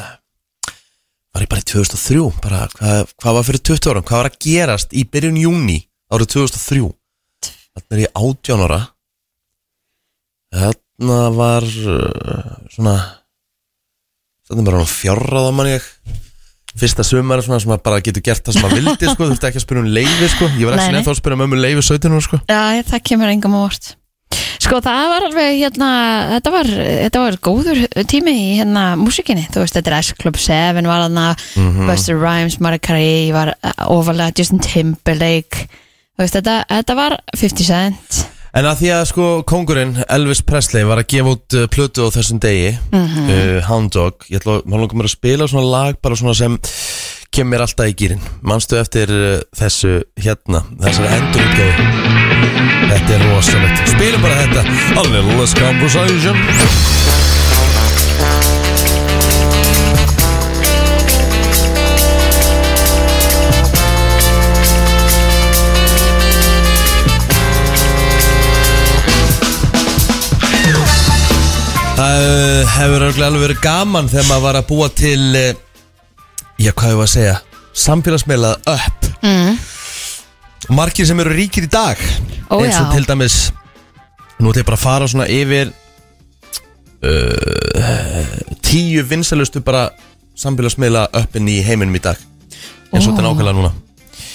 C: Var ég bara í 2003 bara, hvað, hvað var fyrir 20 ára? Hvað var að gerast í byrjun júni árið 2003? Þarna er ég 18 ára Þarna var eh, svona Þarna var hann fjárraða mann ég Fyrsta sumar svona sem að bara getur gert það sem að vildi sko, þurfti ekki að spyrja um leiði sko Ég var
D: Nei,
C: ekki
D: nei.
C: nefn að spyrja um ömmu leiði 17 ára sko
D: Já, það kemur engum á vort Sko, það var alveg hérna þetta var, þetta var góður tími í hérna músikinni, þú veist, þetta er S-Club 7 var hann
C: Mm. Mhm.
D: Buster Rhymes, Mariah Carey var eh, ofalega Justin Timberlake þú veist, þetta, þetta var 50 Cent
C: En að því að sko kongurinn Elvis Presley var að gefa út uh, plötu á þessum degi uh, Hound Dog Ég ætla að maður langar mér að spila svona lag bara svona sem kemur mér alltaf í gýrin Manstu eftir uh, þessu hérna þessari endurutgóðu Þetta er rosalegt Spilum bara þetta A little less conversation Það uh, hefur örugglega alveg verið gaman þegar maður var að búa til uh, Já, hvað ég var að segja Samfélagsmiðlað upp
D: mm.
C: Markir sem eru ríkir í dag
D: Ó,
C: eins og
D: já.
C: til dæmis Nú ætlum ég bara að fara svona yfir uh, Tíu vinsalustu bara samfélagsmiðla uppin í heiminum í dag eins og þetta er nákvæmlega núna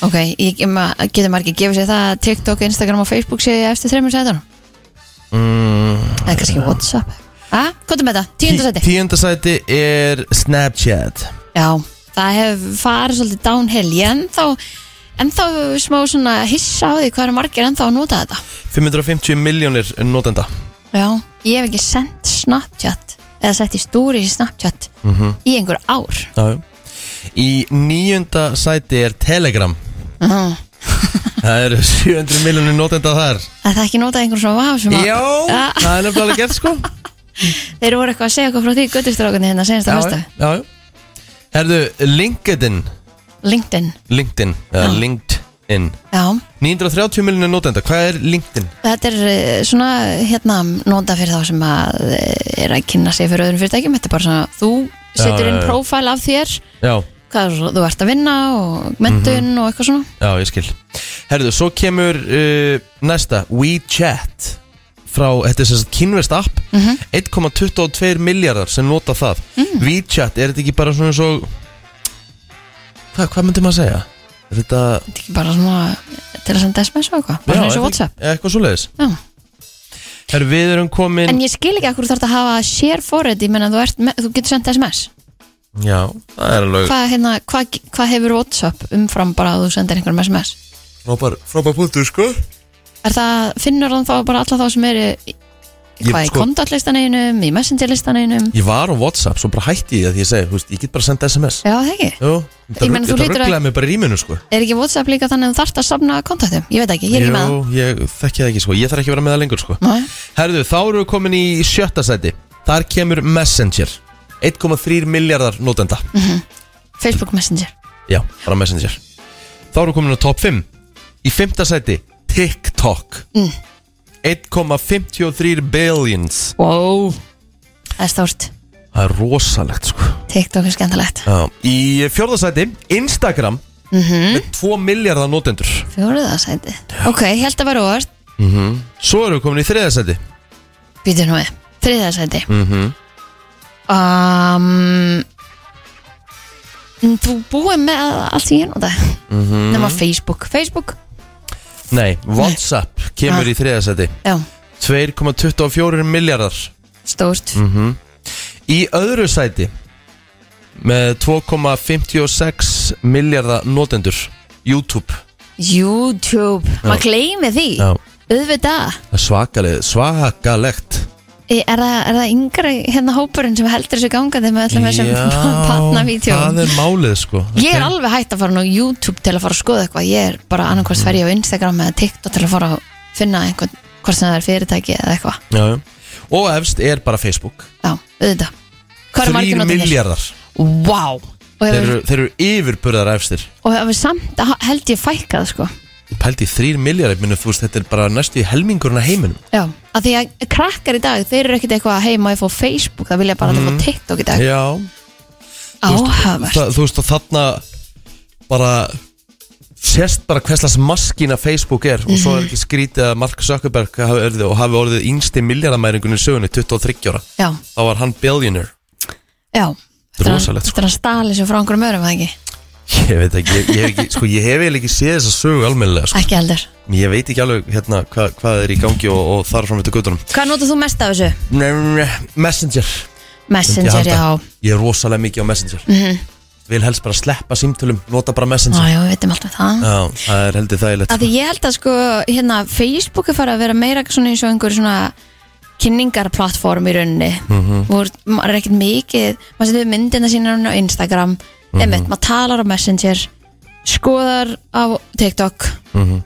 D: Ok, ég, ég, ma, getur maður ekki gefið sér það að TikTok, Instagram og Facebook séu eftir þreymur sætunum? Mm. Eða kannski Whatsapp Ah, hvað er með þetta? Tíundasæti?
C: Tíundasæti er Snapchat
D: Já, það hefur farið svolítið downhill ég ennþá, ennþá smá svona hissa á því hvað eru margir ennþá að nota þetta
C: 550 miljónir notenda
D: Já, ég hef ekki sendt Snapchat eða sett í stúri í Snapchat
C: Mhm.
D: í einhver ár
C: Já, já. Í níunda sæti er Telegram
D: Mhm.
C: Það eru 700 miljónir notenda þar
D: að það ekki notað einhver svona vaf sem að
C: Já,
D: Ah.
C: það er nefnilega alveg gert sko
D: þeir voru eitthvað að segja eitthvað frá því göttustrákunni hérna senast að mesta
C: já, já. Herðu, LinkedIn
D: LinkedIn,
C: LinkedIn, eða LinkedIn
D: já
C: 930 miljonir notenda, hvað er LinkedIn?
D: Þetta er eh, svona hérna nota fyrir þá sem að eh, er að kynna sig fyrir öðrum fyrirtækjum þetta er bara svona, þú setur
C: já, já.
D: inn prófæl af þér
C: Já,
D: hvað er svo- þú ert að vinna og mentun
C: Mhm.
D: og eitthvað svona
C: já, ég skil Herðu, svo kemur uh, næsta WeChat frá, þetta er sem sagt kynverst app
D: Mhm.
C: 1,22 miljardar sem nota það
D: Mm.
C: WeChat, er þetta ekki bara svona svo Hvað, hvað myndi maður að segja? Er þetta
D: Þetta er ekki bara svona til að senda sms og eitthvað, bara
C: Já, er
D: eins og
C: þetta-
D: Whatsapp
C: Eitthvað svoleiðis
D: Já.
C: Herðu, við erum komin
D: En ég skil ekki að hverju þarf að hafa share forrið, ég menna þú, ert með- þú getur senda sms
C: Já, það er alveg
D: Hvað hérna, hva, hva hefur Whatsapp umfram bara að þú sendir einhverjum sms?
C: Frábær, frábær punktur, sko
D: Er það, finnur hann þá bara alla þá sem eru í-
C: Ég,
D: hvað, í
C: sko-
D: kontaktlistan einum, í messengerlistan einum
C: Ég var á Whatsapp, svo bara hætti ég að því ég segi, þú veist, ég get bara að senda SMS
D: Já, það ekki
C: Jú, þetta
D: Ég meina, þú
C: rugg- þetta
D: hlýtur að-
C: rugglaði mig bara í ríminu, sko
D: Er ekki Whatsapp líka þannig að þú þarft að safna kontaktum? Ég veit ekki, ég er ekki með
C: Jú, ég þekki það ekki, sko, ég þarf ekki að vera með það lengur, sko
D: það Ná,
C: Herðu, þá eru við komin í sjötta sæti Þar kemur Messenger 1,3 miljardar notenda
D: Mm. Facebook Messenger
C: Já, bara Messenger Þá eru við komin á top 5 Í fymta sæti, TikTok
D: Mm.
C: 1,53 billions
D: Wow Það er stórt,
C: Það er rosalegt, sko
D: TikTok er skemmtilegt
C: Já. Í fjórða sæti, Instagram
D: Mhm.
C: með 2 miljardar notendur
D: Fjóruðasæti Ok, ég held að vera orð
C: Mhm. Svo erum við komin í þriða sæti
D: Býtu nú við Þriðasæti mm -hmm. um, Þú búið með allt í hérna mm
C: Mhm.
D: -hmm. Nefna Facebook Facebook,
C: Nei, Whatsapp kemur
D: Ah.
C: í þriða sæti
D: já,
C: 2,24 miljardar
D: stórt
C: Mhm. Í öðru sæti með 2,56 miljardar notendur YouTube
D: YouTube, maður gleymi því
C: Já.
D: Auðvitað
C: Það er Svakaleg, svakalegt
D: Í- Er það, er það yngri hérna hópurinn sem heldur þessu gangandi með öllum þessum (laughs)
C: það
D: pannavídeóum?
C: er málið sko
D: Ég er
C: Mhm.
D: alveg hægt að fara nú á YouTube til að fara að skoða eitthvað Ég er bara annarkvæmst fer ég á Instagram eða TikTok til að fara á finna einhvern, hvort sem það er fyrirtæki eða eitthvað,
C: já, já. Og efst er bara Facebook
D: já, auðvitað Hvað eru
C: 3
D: margir notendur?
C: miljardar
D: Vá Og
C: þeir
D: hefur,
C: eru, þeir eru yfirburðar efstir
D: og hefur samt ha- held ég fækkað sko
C: Pældi 3 miljardar, minnum þú veist Þetta er bara næstu í helmingurinn að heiminum
D: Já, að því að krakkar í dag þeir eru ekkert eitthvað heima að fá Facebook það vilja bara mm. að fá TikTok í dag
C: Já,
D: Áhafast
C: það, þú veist og þarna bara sérst bara hverslas maskín að Facebook er og svo er
D: Mhm.
C: ekki skrítið að Mark Zuckerberg hafi orðið, og hafi orðið yngsti miljardamæringun í sögunni 23 ára,
D: Já,
C: þá var hann billionaire
D: já Þetta
C: rosalegt, sko.
D: er að stali sér frá einhverjum örum, eða ekki?
C: ég veit ekki, ég, ég, hef ekki sko ég hef eiginlega ekki séð þessa sögu almennilega sko.
D: Ekki heldur
C: ég veit ekki alveg hérna hva, hvað er í gangi og, og þar fram eftir guttunum
D: Hvað notar þú mest af þessu?
C: Messenger myndi ég
D: Messenger,
C: halda.
D: já Mhm.
C: ég er rosalega mikið á Messenger vil helst bara sleppa símtölum, nota bara
D: Já,
C: Messenger
D: já, við veitum alltaf það
C: Já, það er heldur þægilegt
D: að því ég held að sko hérna Facebook er farið að vera meira svona eins og einhver svona kynningarplattform í rauninni mm
C: Mhm.
D: maður er ekkert mikið maður setur myndina sína á Instagram
C: Mhm.
D: einmitt, maður talar á Messenger skoðar á TikTok
C: Mhm.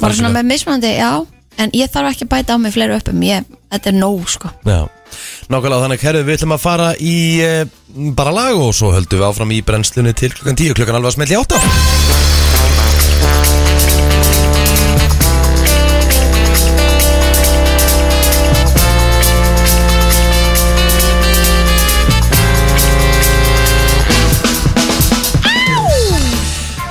D: maður er svona með mismunandi já, en ég þarf ekki að bæta á mig fleiri uppum, ég, þetta er nóg sko
C: Já, nákvæmlega þannig herru við ætlum að fara í e, bara lag og svo höldum við áfram í brennslunni til klukkan 10 klukkan alveg að smelli átta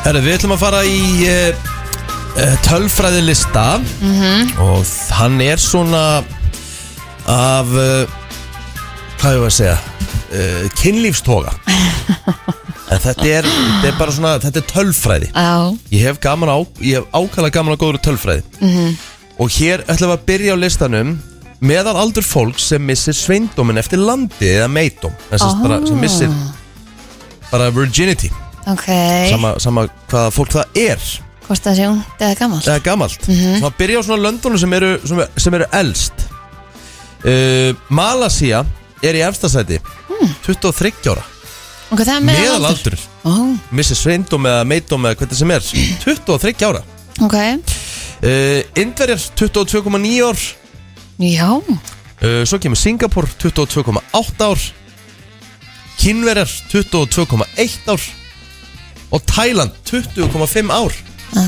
C: Herru við ætlum að fara í e, e, tölfræðilista -hmm. og hann er svona af uh, hvað hefur að segja uh, kynlífstoga en þetta er, þetta er bara svona þetta er tölfræði
D: já,
C: ég hef, gaman á, ég hef ákala gaman að góður tölfræði
D: Mhm.
C: -hmm. og hér ætlum við að byrja á listanum meðal aldur fólk sem missir sveindómin eftir landi eða meitóm Þess að bara, sem missir
D: Ah.
C: bara virginity
D: ok
C: sama, sama hvaða fólk það er
D: hvort það sé ungt eða gamalt
C: eða gamalt mm
D: Mhm.
C: -hmm. það byrja á svona löndunum sem eru, sem, sem eru elst uh, Malasia er í efstasæti 23 ára
D: ok, það er Hmm. meðal
C: meðalaldur
D: aldur Ó,
C: Mrs. Sveindum eða Meidum eða hvernig sem er 23 ára
D: ok,
C: uh, Indverjar 22,9 ár
D: já
C: uh, svo kemur Singapur 22,8 ár Kínverjar 22,1 ár og Tæland 20,5 ár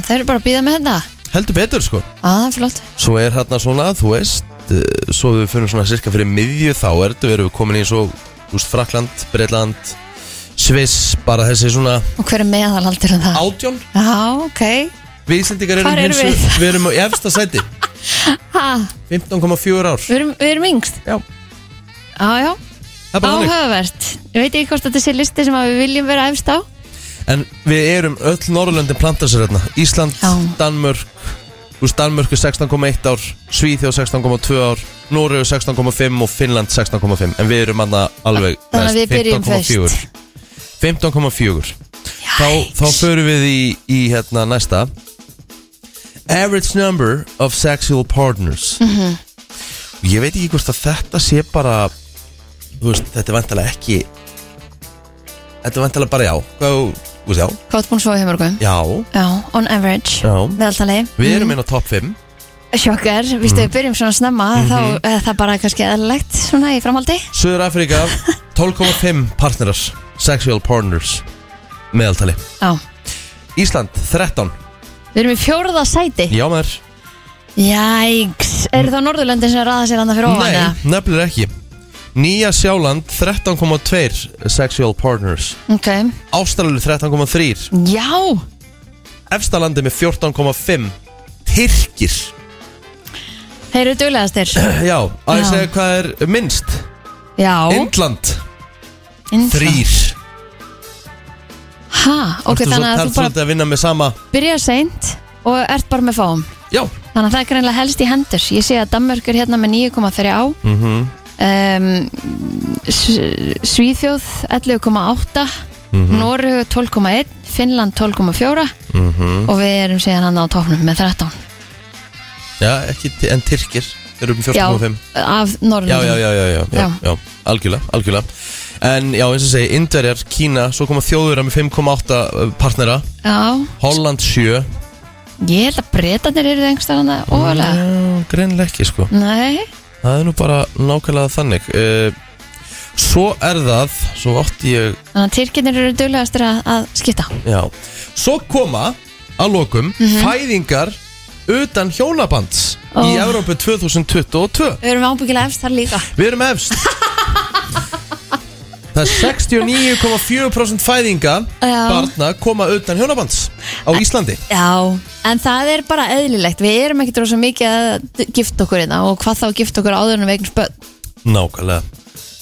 D: það eru bara að býða með þetta
C: heldur betur sko
D: að það er flott
C: Svo er hérna svona, þú veist eh, Svo við fyrir svona cirka fyrir miðju Þá er þetta, við erum komin í svo Þú veist, Frakland, Breitland Sviss, bara þessi svona
D: Og hver er meðalaldur um það?
C: átjón
D: Já, ok
C: Við Íslandingar erum
D: Hvar erum
C: hins-
D: við?
C: erum á efsta sæti
D: ha,
C: 15,4 ár
D: við, erum, við erum yngst
C: Já.
D: Já, já,
C: Það er bara þannig.
D: áhugavert Ég veit ekki hvort þetta sé listi sem að við viljum vera efst á
C: En við erum öll Norrlöndin plantar sér hérna Ísland,
D: Já.
C: Danmörk Þú veist, Danmörk er 16,1 ár Svíþjóð 16,2 ár Noregu 16,5 og Finnland 16,5 En við erum manna alveg
D: Þannig að við byrjum
C: 15,4. 15,4 þá, þá förum við í, í hérna næsta Average number of sexual partners -hmm.
D: Mhm.
C: Ég veit ekki hvort að þetta sé bara þú veist, Þetta er vantalega ekki Þetta er vantalega bara já Hvað, þú veist, já,
D: Hvað er búin svo hjá mörgum?
C: já
D: Já, on average
C: Já.
D: Meðaltali
C: Við Mhm. erum inn á topp 5
D: Sjokkar, vístu við byrjum svona snemma
C: Mhm.
D: Þá er það bara kannski eðlilegt svona í framhaldi
C: Suður
D: (laughs)
C: Afrika 12,5 partnerar Sexual partners Meðaltali
D: Já,
C: Ísland 13
D: við erum í fjórða sæti
C: Já maður
D: Jæks, eru það Norðurlöndin sem raða sér annað fyrir ofan? eða?
C: Nei, nefnilega ekki Nýja Sjáland 13,2 sexual partners
D: Ok,
C: Ástralju 13,3
D: já,
C: Efstalandi með 14,5 Tyrkir
D: þeir eru duglegastir
C: Já, að ég
D: Já.
C: segja hvað er minnst
D: Já,
C: Indland
D: Indland.
C: 3
D: Ha, ok, þannig að þú bara
C: að vinna með sama
D: byrjar seint og ert bara með fáum
C: Já,
D: þannig að það er greinlega helst í hendur ég sé að Danmörk er hérna með 9,3 á mm Svíþjóð 11,8 mm
C: Mhm.
D: 12,1 Finnland 12,4 og við erum síðan hann á topnum með 13
C: já ekki, en Tyrkir Þeir eru um
D: já,
C: 14,5
D: af
C: já, já,
D: Norrlundum
C: já, já, já, já,
D: Já.
C: já, algjörlega, algjörlega En já, eins og segi, Indverjar, uh, Kína Svo koma þjóður með 5,8 partnera
D: já,
C: Holland 7
D: Ég held að breytanir eru einhverstaðar
C: Mhm.
D: hann að óvalega
C: Greinlega Mm, ekki sko
D: Nei,
C: Það er nú bara nákvæmlega þannig uh, Svo er það Svo átti ég
D: þannig að tyrkinir eru duglegastir að, að skipta
C: Já Svo koma að lokum Fæðingar utan hjónabands Í
D: Ó.
C: Evrópu 2022
D: Við erum ábyggilega efst þar líka
C: Við erum
D: (laughs)
C: efst Það er 69,4% fæðinga
D: Já.
C: Barna koma utan hjónabands Á Íslandi
D: Já, en það er bara eðlilegt Við erum ekkert rosa mikið að gifta okkur einna og hvað þá að gifta okkur áður en við eignum spöð
C: Nákvæmlega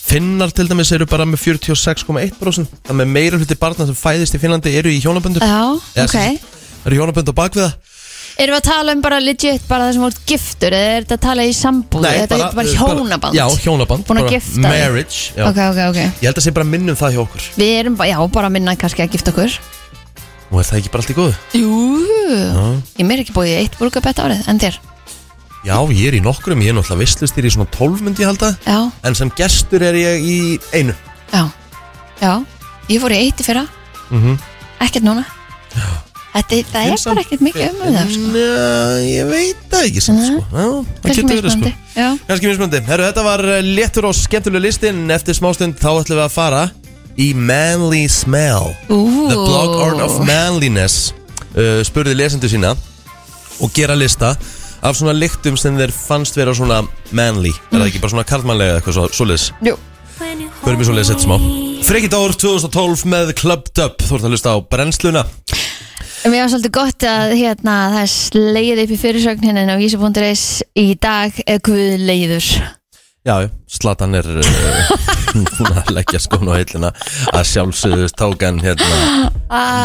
C: Finnar til dæmis eru bara með 46,1% Það með meira hluti barna sem fæðist í Finnlandi eru í hjónaböndu
D: Já, ok
C: Eru hjónaböndu á bakviða
D: Erum við að tala um bara legit bara það sem voru giftur eða er þetta að tala í sambúð þetta er bara hjónaband
C: eh, Já, hjónaband
D: Búin að
C: bara
D: gifta þig.
C: Marriage já.
D: Ok, ok, ok
C: Ég held að sé bara minnum það hjá okkur
D: Við erum bara, já, bara minna kannski að gifta okkur
C: Og er það ekki bara allt í góðu?
D: Jú Ég mér er ekki búið í eitt brúkabett árið, en þér
C: Já, ég er í nokkrum, ég er náttúrulega visslustýri í svona 12 myndi ég halda
D: Já,
C: En sem gestur er ég í einu
D: já, já Ég fór í eitt í fyrra
C: Mhm.
D: Ekkert núna Þetta, það er
C: Finnst
D: bara
C: samt-
D: ekkert mikið um það sko.
C: Næ, ég veit það ekki samt sko Já, það
D: Kannski
C: getur verið sko
D: mismunandi Já,
C: Kannski mismöndi. Herru, þetta var eh, léttur og skemmtuleg listin Eftir smástund þá ætlum við að fara í Manly Smell
D: ú
C: The Blog Art of Manliness uh, spurði lesendur sína og gera lista af svona lyktum sem þeir fannst vera svona manly er það ekki bara svona karlmannlega eða eitthvað svo, svoleiðis
D: Jú.
C: Förum við svoleiðis eitt smá Frikið ár 2012 með Club Dub Þú ert að lista á brennsluna
D: Mér var svolítið gott að hérna, það er slegið upp í fyrirsögn hérna inn á vísi.is í dag er Guð leiður
C: Já, já, Slatan er (laughs) uh, hún að leggja skónu á hillina að sjálfsögðu tókan hérna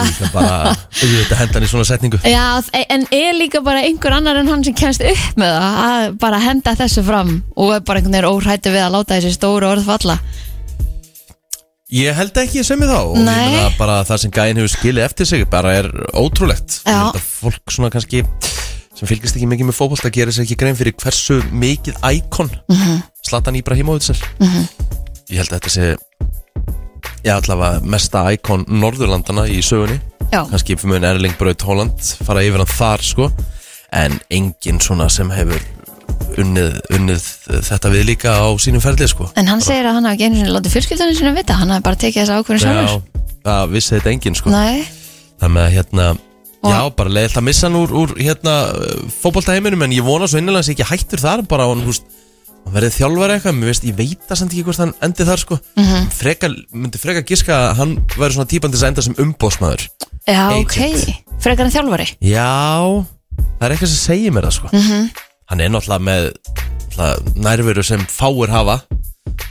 C: líka bara auðvitað hendan í svona setningu
D: Ah, Já, þ- en er líka bara einhver annar en hann sem kemst upp með það að bara henda þessu fram og er bara einhvern veginn óhrættu við að láta þessi stóru orð falla
C: Ég held ekki ég segi þá og ég
D: Nei.
C: meina bara það sem gæin hefur skilið eftir sig bara er ótrúlegt Ég
D: Já.
C: held að fólk svona kannski sem fylgist ekki mikið með fótbolta gerir sér ekki grein fyrir hversu mikið íkon
D: Mhm.
C: Slatan Íbrahimovic er Ég held að þetta sé já, allavega mesta íkon Norðurlandana í sögunni
D: Já,
C: kannski mun Erling Braut Holland fara yfir hann þar sko en enginn svona sem hefur unnið, unnið þetta við líka á sínum ferli sko
D: en hann segir að hann hafi ekki einu sinni látið fjölskyldunni sinni vita, hann hafi bara tekið þessu ákvörðu sjálfur
C: Já, það vissi þetta enginn sko
D: Nei,
C: þannig að hérna
D: Og-
C: Já, bara leiðilt að missa hann úr, úr hérna, fótboltaheiminum en ég vona svo innilega að sé ekki hættur þar bara hann, húst, hann verið þjálfari eitthvað mér veist, ég veit það samt ekki hvort hann endi þar sko. mm
D: Mhm.
C: -hmm. frekar, myndi frekar giska að hann verið svona típan til þess að enda sem umbóðsmaður
D: já,
C: Agent.
D: ok Frekar en þjálfari
C: Já, það er eitthvað sem segir mér það sko
D: Mhm.
C: -hmm. Hann er náttúrulega með náttúrulega, nærveru sem fáir hafa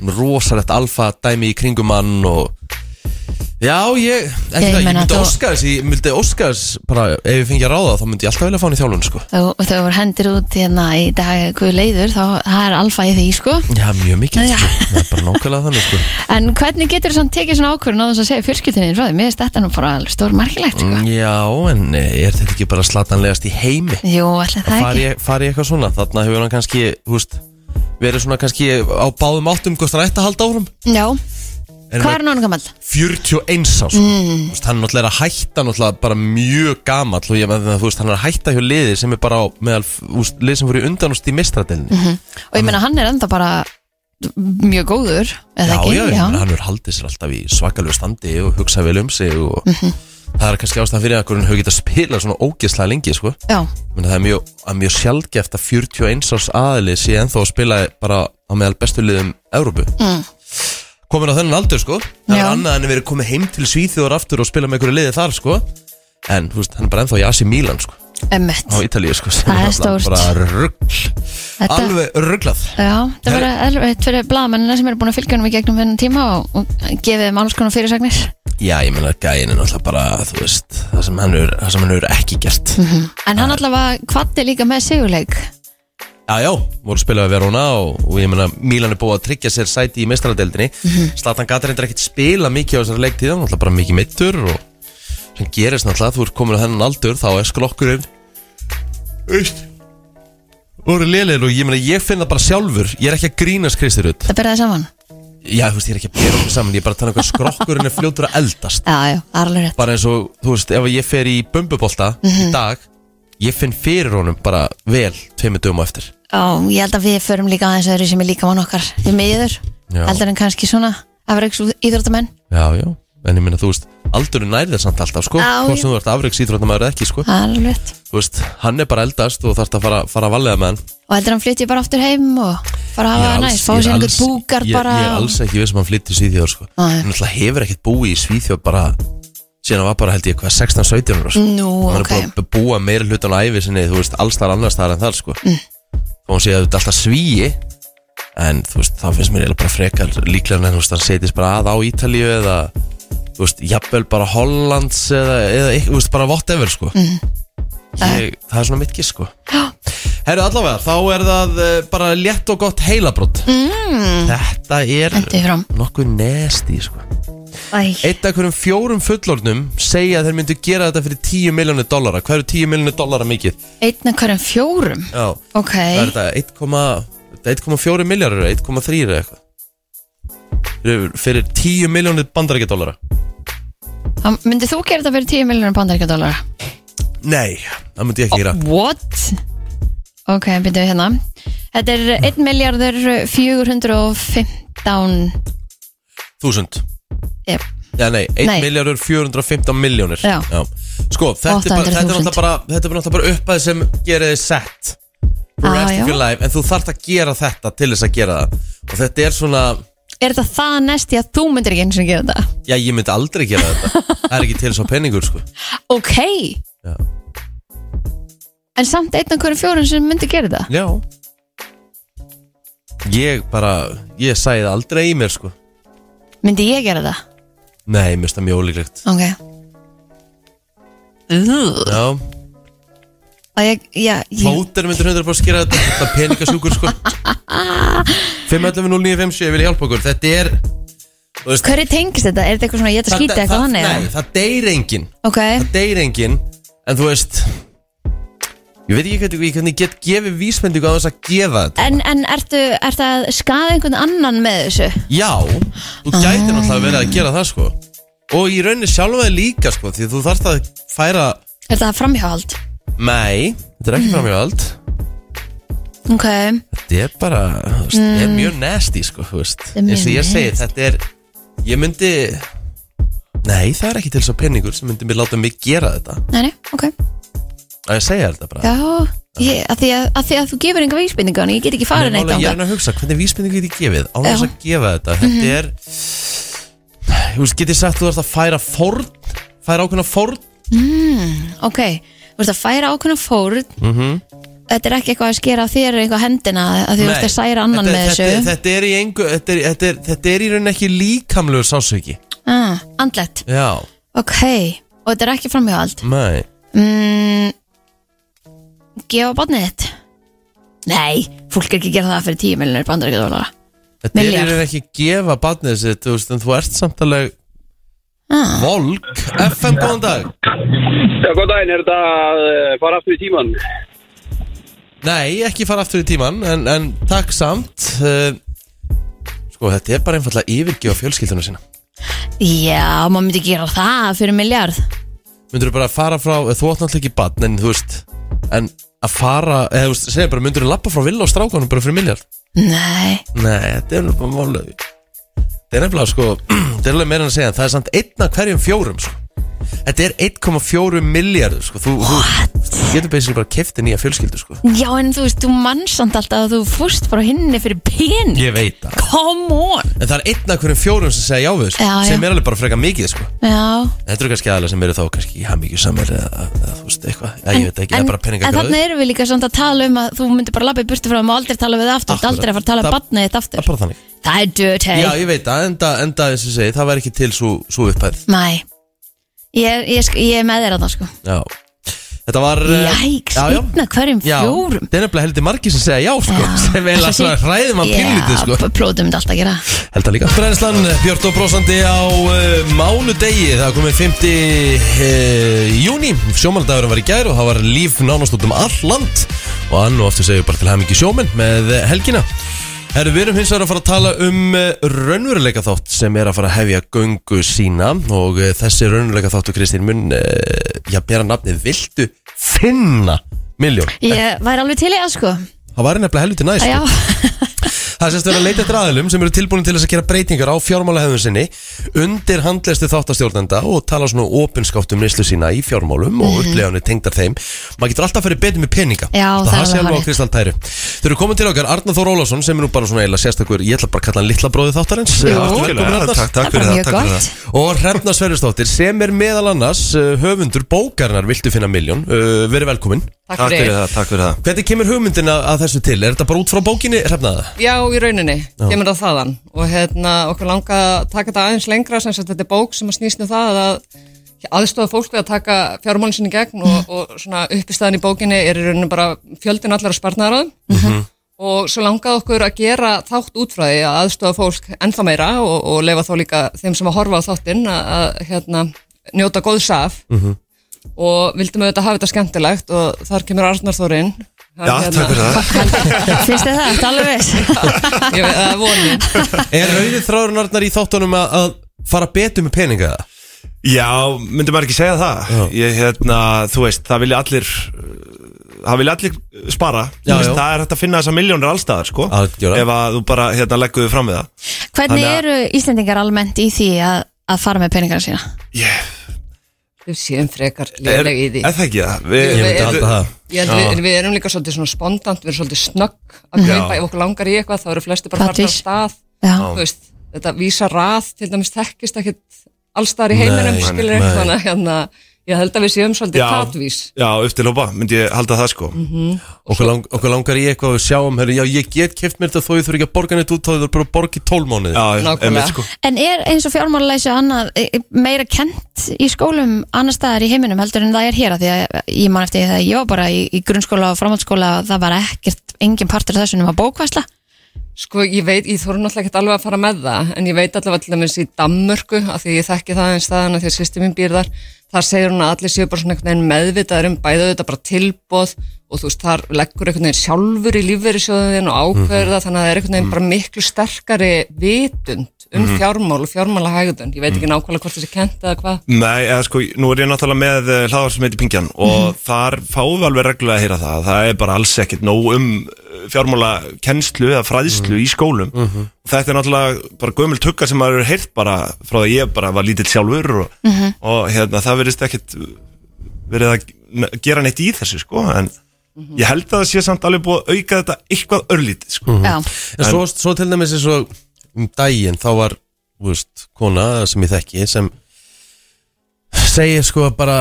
C: Rosalegt alfa dæmi í kringum hann og Já, ég, ekki
D: Ég
C: það, ég
D: meina
C: myndi
D: þú-
C: óska þess, ég myndi óska þess bara ef ég fengi að ráða þá myndi ég alltaf vilja fá hann í þjálfun sko
D: og þau voru hendir út hérna í dag Guð leiður, þá það er alfa í því sko
C: Já, mjög mikið
D: Já.
C: sko, það er bara nákvæmlega þannig sko
D: En hvernig getur þú tekið svona ákvörðun á þess að segja fjölskyldinni frá því? Mér finnst þetta nú bara stór margilegt mm.
C: Já, en eh, er þetta ekki bara slatanlegast í heimi?
D: Jú, allir það
C: fari,
D: ekki
C: fari eitthvað svona þarna hefur hann kannski, húst verið svona kannski á báðum áttum hvort hann ætti að halda árum
D: Já,
C: En
D: hvað er hann gammal?
C: 41 árs mm. veist, hann náttúrulega er að hætta náttúrulega bara mjög gamall og ég með það, þú veist, hann er að hætta hjá liði sem er bara á, meðal, úst, lið sem voru í undanúst í mistradelinni
D: Og ég meina hann er enda bara mjög góður
C: já,
D: eða ekki,
C: já, já. hann er haldið sér alltaf í svakalegu standi og hugsa vel um sig og það er kannski ástæðan fyrir að hvernig hefur getað spilað svona ógeðslega lengi, sko
D: já.
C: Menni, það er mjög, að mjög sjálfgeft að 41 árs aðili sé ennþá að spila bara á meðal bestu liðum Evrópu mm. komin á þennan aldur sko það
D: Já.
C: er annað en að vera komið heim til Svíþjóður aftur og spila með einhverju liði þar sko en þú veist, hann er bara ennþá í Asi Milan sko
D: Emmett
C: á Ítalíu sko sem
D: Það er
C: náttúrulega
D: stórt.
C: bara rugl
D: Þetta-
C: alveg rugglað
D: Já, það verður erfitt fyrir blaðmennina sem eru búin að fylgja honum í gegnum þennan tíma og, og gefið þeim alls konar fyrirsagnir
C: já ég meina gæin er náttúrulega bara þú veist það sem hann er, það sem hann er ekki gert
D: Mhm.
C: mm -hmm.
D: En hann allavega kvatti líka með sigurleik
C: Já, já, voru að spila við Verona og, og ég meina Milan er búið að tryggja sér sæti í meistaradeldinni mm -hmm. Slatan Gatar reyndar ekkert spila mikið á þessari leiktíð hann er náttúrulega bara mikið mittur og sem gerist náttúrulega, þú ert komin á þennan aldur þá er sklokkurinn Veist voru lélir og ég meina ég finn það bara sjálfur ég er ekki að grínast Kristi Rutt
D: Það byrjaði saman
C: Já, þú veist, ég er ekki að bera okkur saman ég er bara að tala um hvað skrokkurinn er fljótur að eldast
D: Já, já, það er alveg rétt
C: bara eins og, þú veist, ef ég fer í bömbubolta í dag ég finn fyrir honum bara vel tveimur dögum á eftir
D: Já, ég held að við förum líka aðeins öðru sem er líka mann okkar Við miður,
C: Já.
D: heldur en kannski svona afreiks íþróttamenn
C: Já, já, en ég minna, þú veist Aldur nærðir samt alltaf, sko
D: Já,
C: Hvort
D: já.
C: sem þú ert afriks íþróttamæður eða ekki, sko
D: Það er alveg rétt.
C: Þú veist, hann er bara eldast og þarft að fara, fara að valega með hann
D: Og heldur hann flytti bara aftur heim og fara að
C: Ég er
D: hafa
C: alls-
D: næst Fá
C: ég er
D: sér einhver
C: alls-
D: búkar
C: ég-
D: bara
C: Ég er
D: og-
C: alls ekki við sem hann flytti í Svíþjóð, sko
D: Nei.
C: Hann alltaf hefur ekkert búið í Svíþjóð bara Síðan hann var bara, held ég, hvað, 16-17 ára, sko
D: Nú,
C: Hann er
D: ok
C: búið að búa meira hlutan á ævi sinni, þú veist, alls þar annars þar en þar, sko mm. Og hann sé að þetta alltaf svíi En, þú veist, þá finnst mér eiginlega bara frekar líklega en, þú veist, hann setjist bara að á Ítalíu eða, þú veist, jafnvel bara Hollands eða, eða, þú veist, bara whatever, sko mm. ég, Það er svona mitt gisk, sko Herru, allavega, þá er það uh, bara létt og gott heilabrott mm. Þetta er
D: Hentu því fram
C: nokkuð nesti, sko
D: Æ,
C: Eitt af hverjum fjórum fullornum segja að þeir myndu gera þetta fyrir 10 miljónu dollara Hvað eru 10 miljónu dollara mikið?
D: Einn af hverjum fjórum
C: Já,
D: Ok,
C: það er þetta 1,- þetta 1,4 miljardur, 1,3 eða eitthvað Fyrir- Fyrir 10 miljónu bandarækja dollara
D: Þá myndið þú gera þetta fyrir 10 miljonar bandaríkjadólara?
C: Nei, það myndi ég ekki gera
D: What? Ok, byrjuðu hérna Þetta er 1 miljardur 415
C: Þúsund
D: Jep.
C: Já, nei, 1
D: Nei.
C: miljardur 415 miljónir
D: Já.
C: Sko, þetta er, bara,
D: 800.000.
C: þetta, er náttúrulega bara, þetta er náttúrulega bara uppæð sem gerði sett for
D: Ah,
C: rest
D: já.
C: of your life, en þú þarft að gera þetta til þess að gera það og þetta er svona,
D: Er þetta það næst í að þú myndir ekki eins og gera þetta?
C: já ég myndi aldrei gera þetta það er ekki til þess að penningur sko
D: Ok
C: Já.
D: En samt einn af hverjum fjórum sem myndi gera þetta?
C: Já Ég bara, ég sæði það aldrei í mér sko
D: Myndi ég gera það?
C: Nei, mér finnst það mjög ólíklegt
D: Ok Ugh.
C: Já,
D: Og ég, já, ég,
C: Plóter myndir 100% skera þetta Þetta er peningasjúkur
D: (laughs)
C: sko 511-0957, ég vil hjálpa okkur Þetta er þú veist,
D: Hverju tengist þetta? Er þetta eitthvað svona ég ætla að skýta eitthvað þannig?
C: Nei,
D: eða? Eh.
C: það deyr engin
D: Ok,
C: Það deyr engin En þú veist Ég veit ekki hvernig, hvernig ég get gefið vísmyndingu á þess að gefa þetta
D: en, en ertu, ertu að skaða einhvern annan með þessu?
C: Já, þú gætir náttúrulega verið að gera það sko Og í rauninni sjálfa þig líka sko Því þú þarft að færa
D: Er þetta framhjáhald?
C: Nei, þetta er ekki
D: Mm.
C: framhjóðald
D: Ok,
C: Þetta er bara, þú veist, þetta er mjög nasty sko, þú veist
D: Mm. er mjög
C: eins og ég
D: nasty.
C: segi, þetta er ég myndi, nei það er ekki til svo penningur sem myndi mér láta mig gera þetta
D: nei, nei, ok
C: að ég segja þetta bara
D: Já, ég, að, því að, að því að þú gefur enga vísbendinga Þannig ég get ekki
C: Nei,
D: farið neitt
C: málega, ég er
D: ánga
C: enn að hugsa, hvernig vísbendingu get ég gefið á þess
D: Já. Mhm.
C: að gefa þetta, þetta er þú veist, get ég sagt þú þarfst að færa forn, færa ákveðna forn
D: Ok, þú ert að færa ákveðna fórn
C: Mhm.
D: Þetta er ekki eitthvað að skera þér eitthvað hendina að því þú ert að særa annan
C: þetta,
D: með
C: þetta,
D: þessu
C: þetta er í engu, þetta er, þetta er, þetta er í rauninni ekki líkamlegu sásöki
D: ah, Andlegt,
C: já,
D: ok Og þetta er ekki framhjáhald
C: nei,
D: mm, Gefa barnið þitt Nei, fólk er ekki að gera það fyrir 10 miljonir bandaríkja dólar
C: þetta er í
D: Milljarð.
C: rauninni ekki gefa barnið sitt, þú veist, en þú ert samt alveg
D: ah,
C: Volk, FM góðan dag
G: Já, góð daginn, er þetta að eh, fara aftur í tíman?
C: Nei, ekki fara aftur í tíman En, en takk samt Eh, Sko, þetta er bara einfallega yfirgjöf fjölskyldunum sína
D: Já, maður myndi gera það fyrir miljard
C: Myndirðu bara fara frá, þú átt náttúrulega ekki barn En þú veist, en að fara Eða þú veist, segja bara, myndirðu lappa frá vill og strákanum Bara fyrir miljard
D: Nei,
C: Nei, þetta er nú bara málega Þetta er nefnilega, sko, (clears throat) þetta er alveg meira en að segja Það er samt einn af hverjum fjórum, sko Þetta er 1,4 miljardur, sko Þú, þú, þú getur basically bara kefti nýja fjölskyldu, sko
D: já en þú veist, þú mannsand alltaf að þú fórst frá hinni fyrir pening
C: Ég veit það
D: Come on
C: En það er einn af hverjum fjórum sem segja já við þessu
D: Já, já.
C: sem er alveg bara freka mikið sko.
D: Já,
C: Þetta eru kannski aðalega sem eru þá kannski í hamingju samir eða, eða þú veist eitthvað Já, ég veit ekki, það
D: en,
C: er bara
D: en
C: peningagröður
D: þarna erum við líka svona að tala um að þú myndir bara labba í burtu frá þeim og aldrei tala við það aftur,
C: Akkúrat.
D: aldrei að fara að tala
C: Það-
D: um batnið þitt
C: Það
D: aftur
C: er bara þannig
D: Það er dirty
C: Já, ég veit það, enda, enda þess að segja, það væri ekki til svo, svo upphæð
D: Mæ, ég, ég, sk- ég er með þér að það sko
C: Já, þetta var eh,
D: Jæks,
C: já, já.
D: einna hverjum
C: Já,
D: fjórum
C: það er nefnilega heldur margir sem segja já sko, (laughs) sem vel að svona hræðum að pínlítið sko
D: Já, prófum þetta alltaf að gera
C: Held það líka Brænslan, Björn og Brósandi á uh, mánudegi Það er komið 5. Uh, júni Sjómaldagurinn var í gær og það var líf nánast út um all land Og hann og aftur segjum bara til hamingi sjóminn með eh, helgina Herru, við erum hins vegar að fara að tala um eh, raunveruleika þátt sem er að fara að hefja göngu sína og eh, þessi raunveruleika þáttu Kristín mun eh, ég bera nafnið, viltu finna miljón?
D: Ég væri alveg til í það sko
C: Það var nefnilega helviti næst (laughs)
D: Já,
C: Það er sérst verið að leita eftir aðilum sem eru tilbúin til þess að gera breytingar á fjármálahefðun sinni undir handlæstu þáttastjórnenda og tala svona opinskátt um nýslu sína í fjármálum
D: Mhm.
C: og upplegunni tengdar þeim maður getur alltaf að fyrir betur með peninga
D: Já,
C: Og
D: það er
C: það sé
D: alveg
C: alveg á
D: hárrétt.
C: Kristall Tæru Þau eru komin til okkar Arnar Þór Ólafsson sem er nú bara svona eiginlega sérstakur ég ætla bara að kalla hann litla bróði þáttarins
D: Jú.
C: Ertu velkomin, Arnar?
H: Takk,
D: það er
H: takk
D: bara
H: fyrir það,
D: mjög
H: takk fyrir
D: gott
H: það
C: og Hrefna Sverjusdóttir sem er meðal annars uh, höfundur bókarinnar Viltu finna miljón, uh, verið velkomin
H: Takk fyrir það, takk fyrir það
C: Hvernig kemur hugmyndina að þessu til? Er þetta bara út frá bókinni, Hrefnaða?
I: Já, í rauninni, kemur það þaðan og hérna, okkur langa að taka þetta aðeins lengra sem sagt þetta er bók sem að snýst um það að aðstofa fólk við að taka fjármálin sinni í gegn og,
H: Mhm.
I: og svona uppistæðan í bókinni er í rauninni bara fjöldin allar að sparnaðrað
H: Mhm.
I: og svo langaði okkur að gera þátt út frá því að aðstofa fólk ennþá meira og, og leifa þá líka þeim sem að horfa á þáttinn að, að hérna, njóta góðs af
H: Mhm.
I: og vildum auðvitað hafa þetta skemmtilegt og þar kemur Arnar Þórin
H: Já, takk fyrir
I: hérna,
H: það
I: (laughs)
D: finnst þið það, ertu alveg
C: (laughs)
D: viss
I: Ég veit, það er vonin
C: Er rauðið þráðurnarnar í þáttunum að, að fara betur með peninga það?
H: Já, myndi maður ekki segja það
C: Já.
H: Ég, hérna, Þú veist, það vilja allir uh, Það vilja allir spara
C: Já,
H: Þú veist,
C: já.
H: Það er hægt að finna þessa miljónir allstaðar sko,
C: Algjörlega.
H: Ef að þú bara hérna, leggur þig fram við það
D: Hvernig
H: Þannig að-
D: eru Íslendingar almennt í því að, að fara með peningar sína?
H: yeah.
I: Við séum frekar
H: er,
I: léleg í því
H: er það ekki það? Vi,
C: Ég myndi
I: Við-
C: halda það
I: Ég held við, en við erum líka svolítið svona spontant, við erum svolítið snögg að kaupa, ef okkur langar í eitthvað þá eru flesti bara farnir
D: Patrís.
I: af stað
D: Já,
I: Þú veist, Þetta vísa rað, til dæmis þekkist ekkit allstaðar í heiminum,
C: Nei,
I: skilur
C: nei.
I: þannig að hérna, ég held að við séum svolítið
H: Já.
I: tatvís
H: Já, upp til hópa, myndi ég halda það sko
C: Mhm. Okkur, lang, okkur langar í eitthvað að við sjáum herri, Já, ég get keft mér þetta þó ég þurfi ekki að borga neitt út þá ég þurfi bara að borga í tólmónið
H: Já,
I: Nákvæmlega.
H: einmitt, sko.
D: En er eins og fjármálalæsi og annað e- e- meira kent í skólum annar staðar í heiminum heldur en það er hér að því að ég man eftir því að ég var bara í, í grunnskóla og framhaldsskóla og það var ekkert, engin partur af þessu nema bókvæsla
I: Sko, ég veit, ég þóru náttúrulega ekkert alveg að fara með það, en ég veit allavega til dæmis í Danmörku, af því ég þekki það eins þaðan af því að sýsti mín býr þar, þar segir hún að allir séu bara svona einhvern veginn meðvitaður um bæða þetta bara tilbóð og þú veist, þar leggur einhvern veginn sjálfur í lífverðisjóðin og ákveður það, þannig að það er einhvern veginn bara miklu sterkari vitund um fjármál og fjármálahægðun. Ég veit ekki nákvæmlega hvort þessi kent eða hvað.
H: Nei, eða sko, nú er ég náttúrulega með hlaðar sem heitir Pingjan og þar fáum við alveg reglulega að heyra það það er bara alls ekkert nóg um fjármála kennslu eða fræðslu í skólum þetta er náttúrulega bara gömul tugga sem maður hefur heyrt bara frá því að ég bara var lítill sjálfur og, og hérna, það verðist ekkert verið að gera neitt í þessu sko, en ég held að það sé samt alveg búið að auka þetta eitthvað örlítið sko.
D: Já,
C: En svo, svo til dæmis eins og um daginn þá var þú veist, kona sem ég þekki sem segir sko bara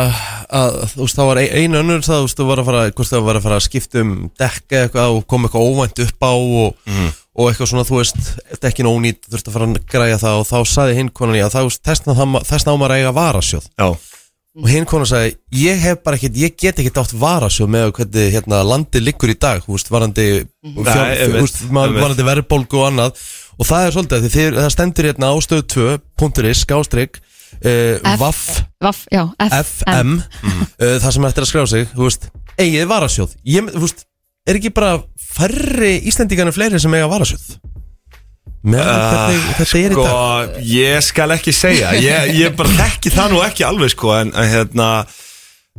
C: að þú veist þá var ein- ein önnur það þú veist þú var að fara, hvort það var að fara að skipta um dekka eitthvað og kom eitthvað óvænt upp á og, og eitthvað svona þú veist dekkin ónýtt þurfti að fara að græja það og þá saði hinn konan já þá þess náma að eiga varasjóð
H: Já,
C: og hinn konan sagði ég hef bara ekkert, ég get ekkert átt varasjóð með hvernig hérna, landið liggur í dag þú veist, varandi, fjár,
H: einmitt,
C: þú veist, ma-
H: einmitt.
C: varandi verðbólgu og annað og það er svolítið, af því þið, það stendur hérna ástöðu 2.is, skástrík uh,
D: F-
C: vaff
D: vaff, já, FM
C: FM mm. uh, það sem eftir að skrá sig þú veist, eigið varasjóð ég, þú veist, er ekki bara færri Íslendingan en fleiri sem eiga varasjóð með uh, hvernig þetta er í
H: sko,
C: dag
H: ég skal ekki segja ég, ég bara þekki það nú ekki alveg sko, en, en hérna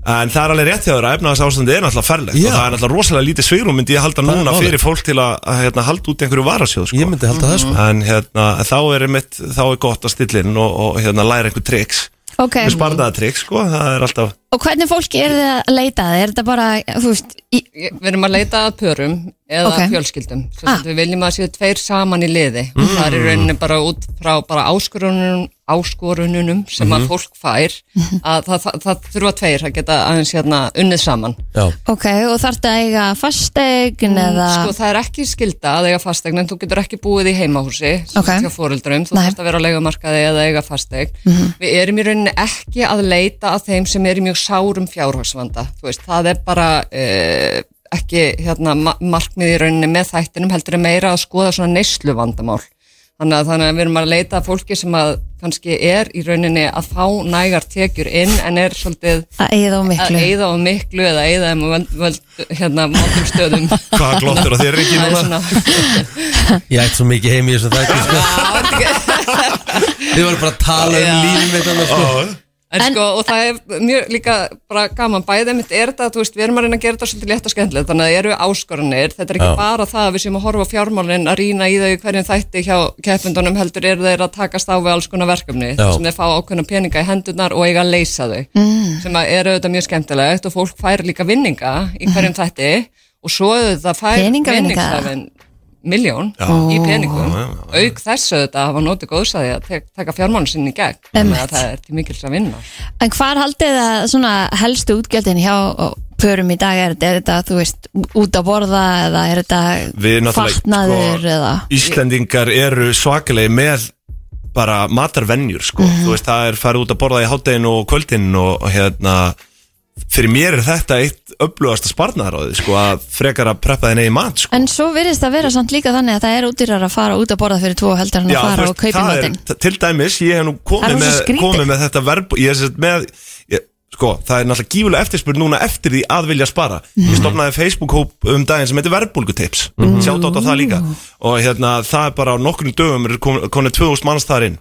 H: en það er alveg rétt hjá þér að efnaðast ástandi er náttúrulega ferlegt
C: Já.
H: og það er náttúrulega rosalega lítið svigrum myndi ég halda
C: er
H: núna
C: málið.
H: fyrir fólk til að, að hérna, halda út einhverju varasjóð sko.
C: ég myndi halda það sko
H: en hérna, þá er, mitt, þá er gott að stilla inn og, og hérna, læra einhver triks
D: Ok,
H: okay. spartaða triks, sko, það er alltaf
D: og hvernig fólki er þið að leita að? Er þetta bara, þú veist, í,
I: Ég- Við erum að leita að pörum eða
D: Ok.
I: fjölskyldum. Svo
D: Ah.
I: ah. Við viljum að séu tveir saman í liði. og Það er í rauninni bara út frá bara áskorununum, áskorununum sem að fólk fær
D: Mhm.
I: að það, það, það þurfa tveir að geta aðeins hérna unnið saman.
C: já
D: ok, og þarf þetta að eiga fastegn eða
I: Sko það er ekki skilda að eiga fastegn en þú getur ekki búið í heimahúsi sem
D: Ok.
I: sagt hjá foreldrum, þú
D: Nei. Mhm.
I: þarfst að vera á leigumarkaði eða eiga fastegn. Við erum í rauninni ekki að leita að þeim sem er í mjög sárum fjárhagsvanda. Þú veist, það er bara eh, ekki hérna, ma markmið í rauninni með þættinum heldur er meira að skoða svona neyslu vandamál. Þannig að, þannig að við erum að leita að fólki sem að kannski er í rauninni að fá nægar tekjur inn en er svolítið
D: að eigið á
I: að
D: miklu?
I: eyða á miklu eða eyða þeim á völd, völd, hérna, völdum stöðum
D: (laughs)
H: hvað glottur á þér ekki
I: Það er
H: núna
I: svona (laughs)
C: Ég ætti svo mikið heim í þessum þætti sko. Þið varum bara að tala um
I: Já.
C: lífum eitt annað sko.
I: En,
D: En-
I: sko, og það er mjög líka bara gaman bæðið mitt er þetta, þú veist, við erum að reyna að gera þetta svolítið létt og skemmtilegt, þannig að það eru áskoranir þetta er ekki bara það að við séum að horfa á fjármálin að rýna í þau í hverjum þætti hjá keppindunum heldur eru þeir að takast á við alls konar verkefni
C: Já.
I: sem þeir fá ákveðna peninga í hendunar og eiga að leysa þau mm. sem að eru auðvitað mjög skemmtilegt og fólk fær líka vinninga í hverjum þætti og svo auðvitað fær
D: Peningavinninga?
I: vinningshafinn miljón í peningum auk þessu þetta hafa nótið góðsæði að te- taka fjármánu sinni í gegn þannig að það er til mikils að vinna
D: En hvar haldið það svona helstu útgjöldin hjá pörum í dag? Er, er þetta, þú veist, út að borða eða er
H: Við
D: þetta
H: náttúrulega,
D: fatnaður
H: sko,
D: eða?
H: Íslendingar eru svakalegi með bara matarvenjur sko. þú veist það er farið út að borða í háttegin og kvöldin og hérna fyrir mér er þetta eitt upplugasta sparnaráði sko að frekar að preppa þinn eigin mat sko.
D: En svo virðist það vera samt líka þannig að það er útýrar að fara út að borða fyrir tvo heldur en að fara og kaupi
H: það er,
D: matinn.
H: t- til dæmis, ég hef nú
D: Það
H: komið
D: er rosa
H: með,
D: skrítið.
H: komið með þetta verb ég er sett með, ég, sko, það er náttúrulega gífulega eftirspurn núna eftir því að vilja spara ég
D: Mhm.
H: stofnaði Facebook-hóp um daginn sem heitir verbulgutips, mm. sjátt á það líka og hérna, það er bara á nokkrum dögum er konið 2000 manns þar inn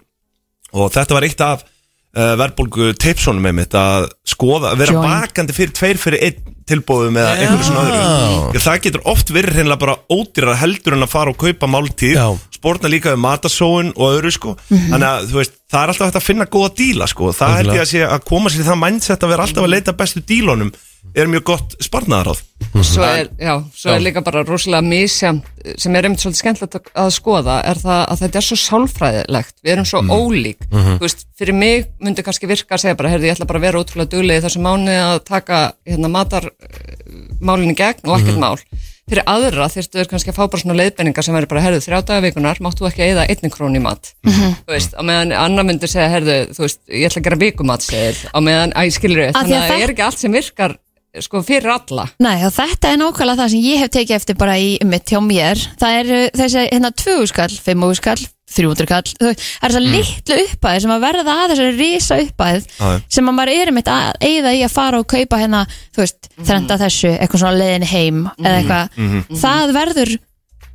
H: og þetta var eitt af uh, verbulgutipsunum með mitt að skoða, að vera
D: Joint.
H: bakandi fyrir tveir fyrir einn tilbóðum eða einhverjum
D: Ah.
H: svona öðrum Ég, það getur oft verið hreinlega bara ódýrar heldur en að fara og kaupa máltíð
C: Já. Mhm.
H: spórna líka við matasóun og öðru sko. þannig að þú veist, það er alltaf hægt að finna góða díla sko. það held ég að sé að koma sér í það mindset að vera alltaf að leita bestu dílunum er mjög gott sparnaðaráð
I: svo er, já, svo er líka bara rosalega misjant sem er einmitt svolítið skemmtilegt að- að skoða er það að þetta er svo sálfræðilegt við erum svo ólík þú veist, fyrir mig myndi kannski virka að segja bara heyrðu, ég ætla bara að vera útrúlega duglega í þessu mánu að taka hérna, matarmálinni gegn og ekkert mál fyrir aðra þyrftu þér kannski að fá bara svona leiðbenningar sem verður bara, herðu, þrjá dagavikunar máttu ekki eða einni krón í mat þú veist, á meðan annar myndi segja, herðu þú veist, ég ætla að gera vikumat segir á meðan, æ, skilur
D: Af því
I: þannig
D: að
I: að það
D: það-
I: er ekki allt sem virkar sko fyrir alla
D: Nei, og þetta er nákvæmlega það sem ég hef tekið eftir bara í mitt hjá mér. Það er uh, þessi hérna tvöguskall, fimmúskall, þrjúndurkall, það er þessar litlu uppæði sem að verða að þessari risa uppæð
H: Mm. Já, já.
D: sem að maður er mitt að eigða í að fara og kaupa hérna, þú veist, þrenda þessu, eitthvað svona leiðin heim eða eitthvað.
H: Mhm.
D: Það verður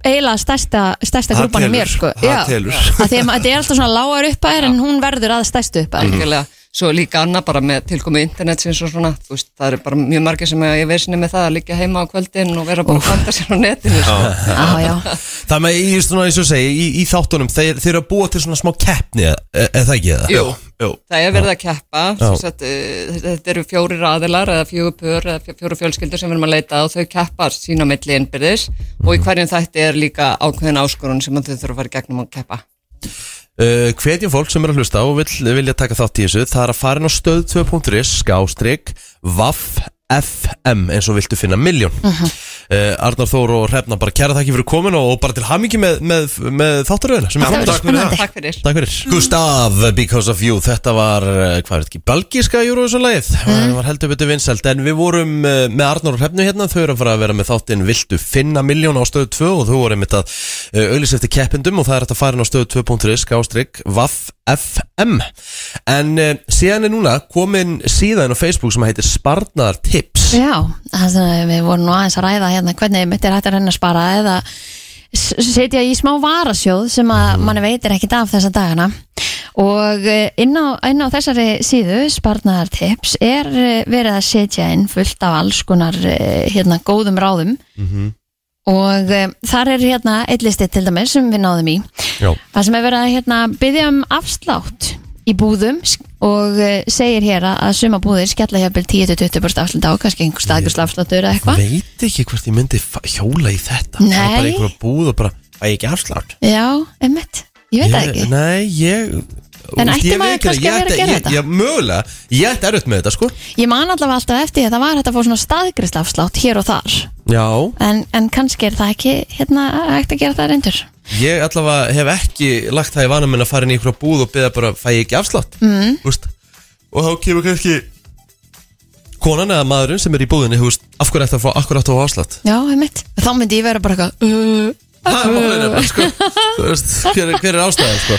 D: eiginlega stærsta, stærsta
H: Það
D: grúpan í
H: telur,
D: mér, sko.
H: það telur.
D: Að því að ma- þetta er alltaf svona lágar uppæðir en hún verður að stærstu uppæðir.
H: Mm.
I: algjörlega, svo líka annað bara með tilkomu internetsins og svona, þú veist, það eru bara mjög margir sem er vesinni með það að liggja heima á kvöldin og vera bara að kvanta sér á netinu sko.
D: Já, já.
C: Það með, í, svona, eins og ég segi, í, í þáttunum þeir, þeir eru að búa til svona smá keppni eða e, e, það ekki eða?
I: Jú.
C: Jú.
I: það er verið að keppa sem sagt, uh, þetta eru fjóri raðilar eða fjögur pör eða fjó- fjóru fjölskyldur sem við erum að leita og þau keppar sína milli innbyrðis og í hverjum þætti er líka ákveðin áskorun sem að þau þurfa að fara í gegnum að keppa
C: Uh, hvetjum fólk sem er að hlusta og vil, vilja taka þátt í þessu það er að fara inn á stöð2.is skástrík vaff.fm eins og viltu finna miljón uh Arnar Þór og Hrefna bara kæra þakki fyrir komin og, og bara til hamingi með, með, með þáttaröðina sem er
D: Það
C: fram-
D: verður
H: takk fyrir það.
D: spennandi.
I: Takk fyrir
C: Takk fyrir Gustaf, Because of You Þetta var, eh, hvað er þetta ekki, belgíska Eurovision-lægið Það var heldur betur vinsælt En við vorum eh, með Arnur og Hrefnu hérna Þau eru að fara að vera með þáttinn Viltu finna miljón á stöðu 2 Og þau voru einmitt að auðlýsa eftir keppindum Og það er þetta farin á stöðu 2.is Gástrygg Vaff FM En eh, síðan er núna komin síðan á Facebook Sem heitir Sparnar Tips
D: Já, þannig að við vorum nú aðeins að ræða hérna hvernig mitt er hægt að reyna að spara eða s- setja í smá varasjóð sem að mann veitir ekkit af þessa dagana og eh, inn á, inn á þessari síðu sparnartips er eh, verið að setja inn fullt af alls konar eh, hérna góðum ráðum og eh, þar er hérna eitt listi til dæmis sem við náðum í
C: Já.
D: það sem er verið að hérna, byggja um afslátt í búðum sk- og eh, segir hér að- að suma búðir skella hjá 10-20% afslátt á kannski einhver staðgjur afsláttur eða eitthvað
C: Veit ekki hvort ég myndi fa- hjóla í þetta
D: Nei.
C: Það er Bara einhverja búð og bara Æ, ekki afslátt
D: Já, einmitt, ég veit það ekki
C: Nei, ég
D: En
C: Úst,
D: ætti
C: ég
D: maður
C: veit ekki
D: kannski
C: ég
D: að vera að
C: ætti-
D: gera
C: ég-
D: þetta?
C: Ég mögulega, ég ætti erut með þetta sko
D: Ég man allavega alltaf eftir því að það var hægt að fá svona staðgjur afslátt hér og þar
C: Já
D: en, en kannski er það ekki hérna hægt að gera það reyndur
C: Ég allavega hef ekki lagt það í vanum minn að fara inn í einhverja búð og beða bara fæ ég ekki afslátt mm. Úst, Og þá kemur kannski konan eða maðurinn sem er í búðinni húst, af hverju ætti að fá akkur áttu á afslátt
D: Já, einmitt, þá myndi ég vera bara eitthvað uh,
C: Það er málið nefnilega, sko. Þú veist, hver, er- hver er ástæðan sko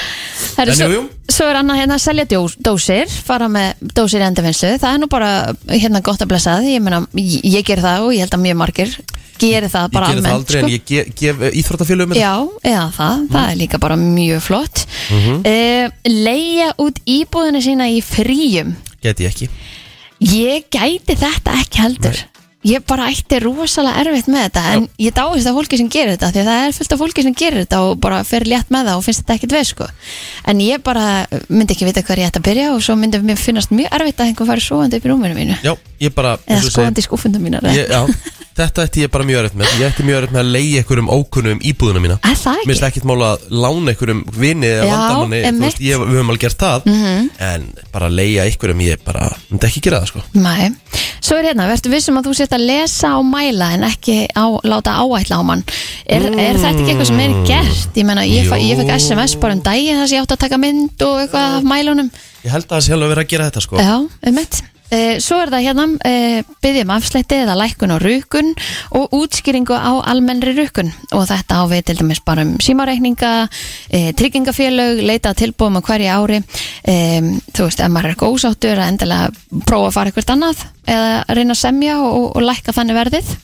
D: Heru,
C: En
D: svo,
C: jú, jú.
D: svo er annað hérna að selja djó, dósir fara með dósir í endurvinnslu það er nú bara hérna gott að blessa það ég, meina, ég, ég ger það og ég held að mjög margir gerir það
C: Ég
D: bara
C: gerir það
D: almennt sko.
C: aldrei en ég Mhm. ge- gef íþróttafélögum
D: Já, eða það, það er líka bara
C: Mhm.
D: Eh, mjög flott mm Leia út íbúðinu sína í fríum
C: Gæti ég ekki
D: Ég gæti þetta ekki heldur Ég bara ætti rosalega erfitt með þetta En ég dáist að fólki sem gerir þetta Því að það er fullt af fólki sem gerir þetta Og bara fer létt með það og finnst þetta ekkit veð sko. En ég bara myndi ekki vita hvað ég ætti að byrja Og svo myndi mér finnast mjög erfitt að einhver fari svoandi upp í rúminu mínu
C: Já, ég bara
D: Eða
C: eins og
D: skoðandi í skúfundum mínar eða- (laughs)
C: ég, Já, þetta ætti ég bara mjög erfitt með Ég ætti mjög erfitt með að leiði einhverjum ókunnum íbúðuna mína
D: Er það
C: Mér
D: ekki?
C: finnst ekkert mála að lána einhverjum vini eða
D: Já,
C: vandamanni Þú
D: einmitt. Mhm.
C: veist, ég, við höfum alveg gert það En bara að leiða einhverjum, ég bara myndi ekki gera það sko
D: Nei, svo er hérna, verður vissum að þú sért að lesa og mæla en ekki á, láta áætla á mann er, er þetta ekki eitthvað sem er gert? Ég meina, ég, fæ, ég fekk SMS bara um daginn þar sem ég átti að taka mynd og eitthvað af mælunum
C: Ég held að það sé alveg verið að gera þetta sko
D: Já, um eitt Svo er það hérna, eh, byggjum afslætti eða lækkun og rukun og útskýringu á almennri rukun og þetta á við til dæmis bara um símareikninga, eh, tryggingafélög, leita að tilbúum á hverju ári eh, þú veist, ef maður er góðsáttur að endilega prófa að fara eitthvað annað eða reyna að semja og, og lækka þannig verðið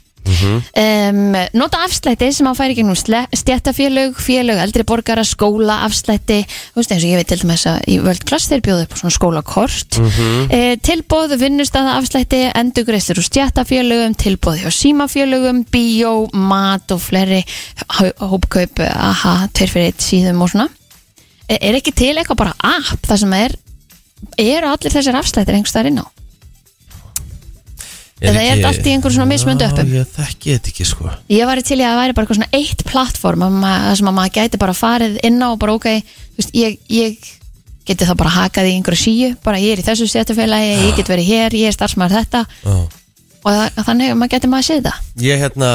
D: um, nota afslætti sem að færi gegnum sle- stjættafélög, félög, eldri borgara, skóla, afslætti þú veist eins og ég veit til dæmis að í World Class þeir bjóðu upp á svona skólakort mm -hmm. tilbóð, vinnustada afslætti endugreistur úr stjættafélögum tilbóð hjá símafélögum, bíó mat og fleiri hó- hópkaup, aha, tveir fyrir eitt síðum og svona er, er ekki til eitthvað bara app þar sem er eru allir þessir afslættir einhvers þar inn á Eða er þetta allt í einhverjum svona mismunandi uppum?
C: Já, ég þekki þetta ekki sko
D: Ég var til í að það væri bara eitthvað svona eitt plattform að ma- þar sem að maður gæti bara farið inn á og bara ok, þú veist, ég, ég geti þá bara hakað í einhverju síu bara ég er í þessu stjættufélagi, ég get verið hér ég er starfsmæður þetta
C: Já.
D: og það, þannig að maður geti maður að séð það
C: ég hérna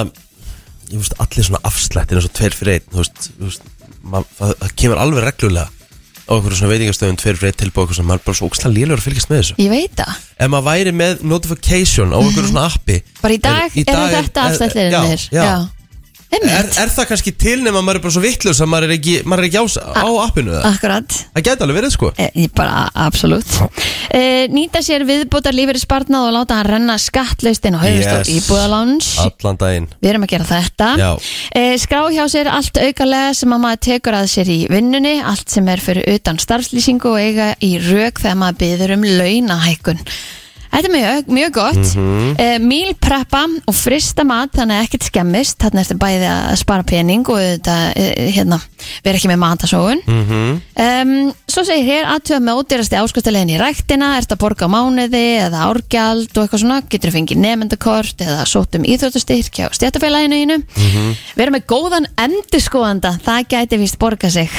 C: ég veist allir svona afslættir eins og tveir fyrir einn þú veist, þú veist man, það, það kemur alveg reglulega á einhverju svona veitingastöðum tveir fyrir einn tilbúið eitthvað sem maður er bara svo ókslega lélur að fylgjast með þessu
D: Ég veit það,
C: ef maður væri með notification á einhverju svona appi
D: Mhm. bara í dag er,
C: dag
D: þetta afstættirinn
C: já,
D: þér
C: já. Er,
D: Einmitt,
C: er það kannski til nema maður er bara svo vittlust að maður er ekki, maður er ekki á, á
D: Ah.
C: appinu það?
D: akkurat
C: Það gæti alveg verið sko
D: Eh, Ég bara, absolutt e, Nýta sér viðbótar lífeyri og láta hann renna skattlaust inn á höfustóð yes.
C: Yes. Allan daginn
D: Við erum að gera þetta
C: Já.
D: Eh, Skrá hjá sér allt aukalega sem að maður tekur að sér í vinnunni Allt sem er fyrir utan starfslýsingu og eiga í rauk þegar maður byður um launahækkun Þetta er mjög, mjög gott mm Mílpreppa og frista mat þannig að ekkert skemmist Þarna ertu bæði að spara pening og þetta, hérna, vera ekki með matasóun Um, svo segir hér aðtöða með ódýrasti áskastalegin í ræktina, ert að borga á mánuði eða árgjald og eitthvað svona, getur fengið nefndakort eða sótt um íþróttastyrk hjá stjættafélaginu einu. Mm -hmm. Verða með góðan endurskoðanda, það gæti vist borga sig.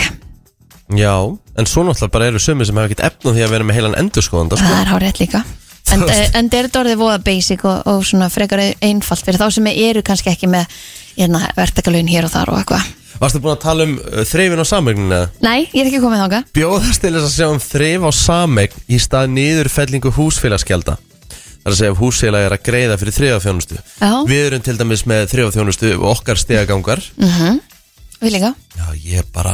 C: Já, en svo náttúrulega bara eru sömur sem hafa ekkert efn á því að vera með heilan endurskoðanda sko.
D: Það er hárétt líka. En, eh, en þetta er orðið voða basic og, og svona frekar einfalt fyrir þá sem eru kannski ekki með hérna, verktakalun hér og þar og eitthvað.
C: Varstu búin að tala um uh, þreifin á sameigninni? eða?
D: Nei, ég er ekki komið þáka.
C: Bjóðast til þess að sjá um þrif á sameign í stað niðurfellingu húsfélagskelda Það er að segja ef húsfélag er að greiða fyrir þrifafjónustu
D: Já.
C: Við erum til dæmis með þrifafjónustu og okkar stegagangar
D: Mhm. Við líka.
C: Já, ég er bara,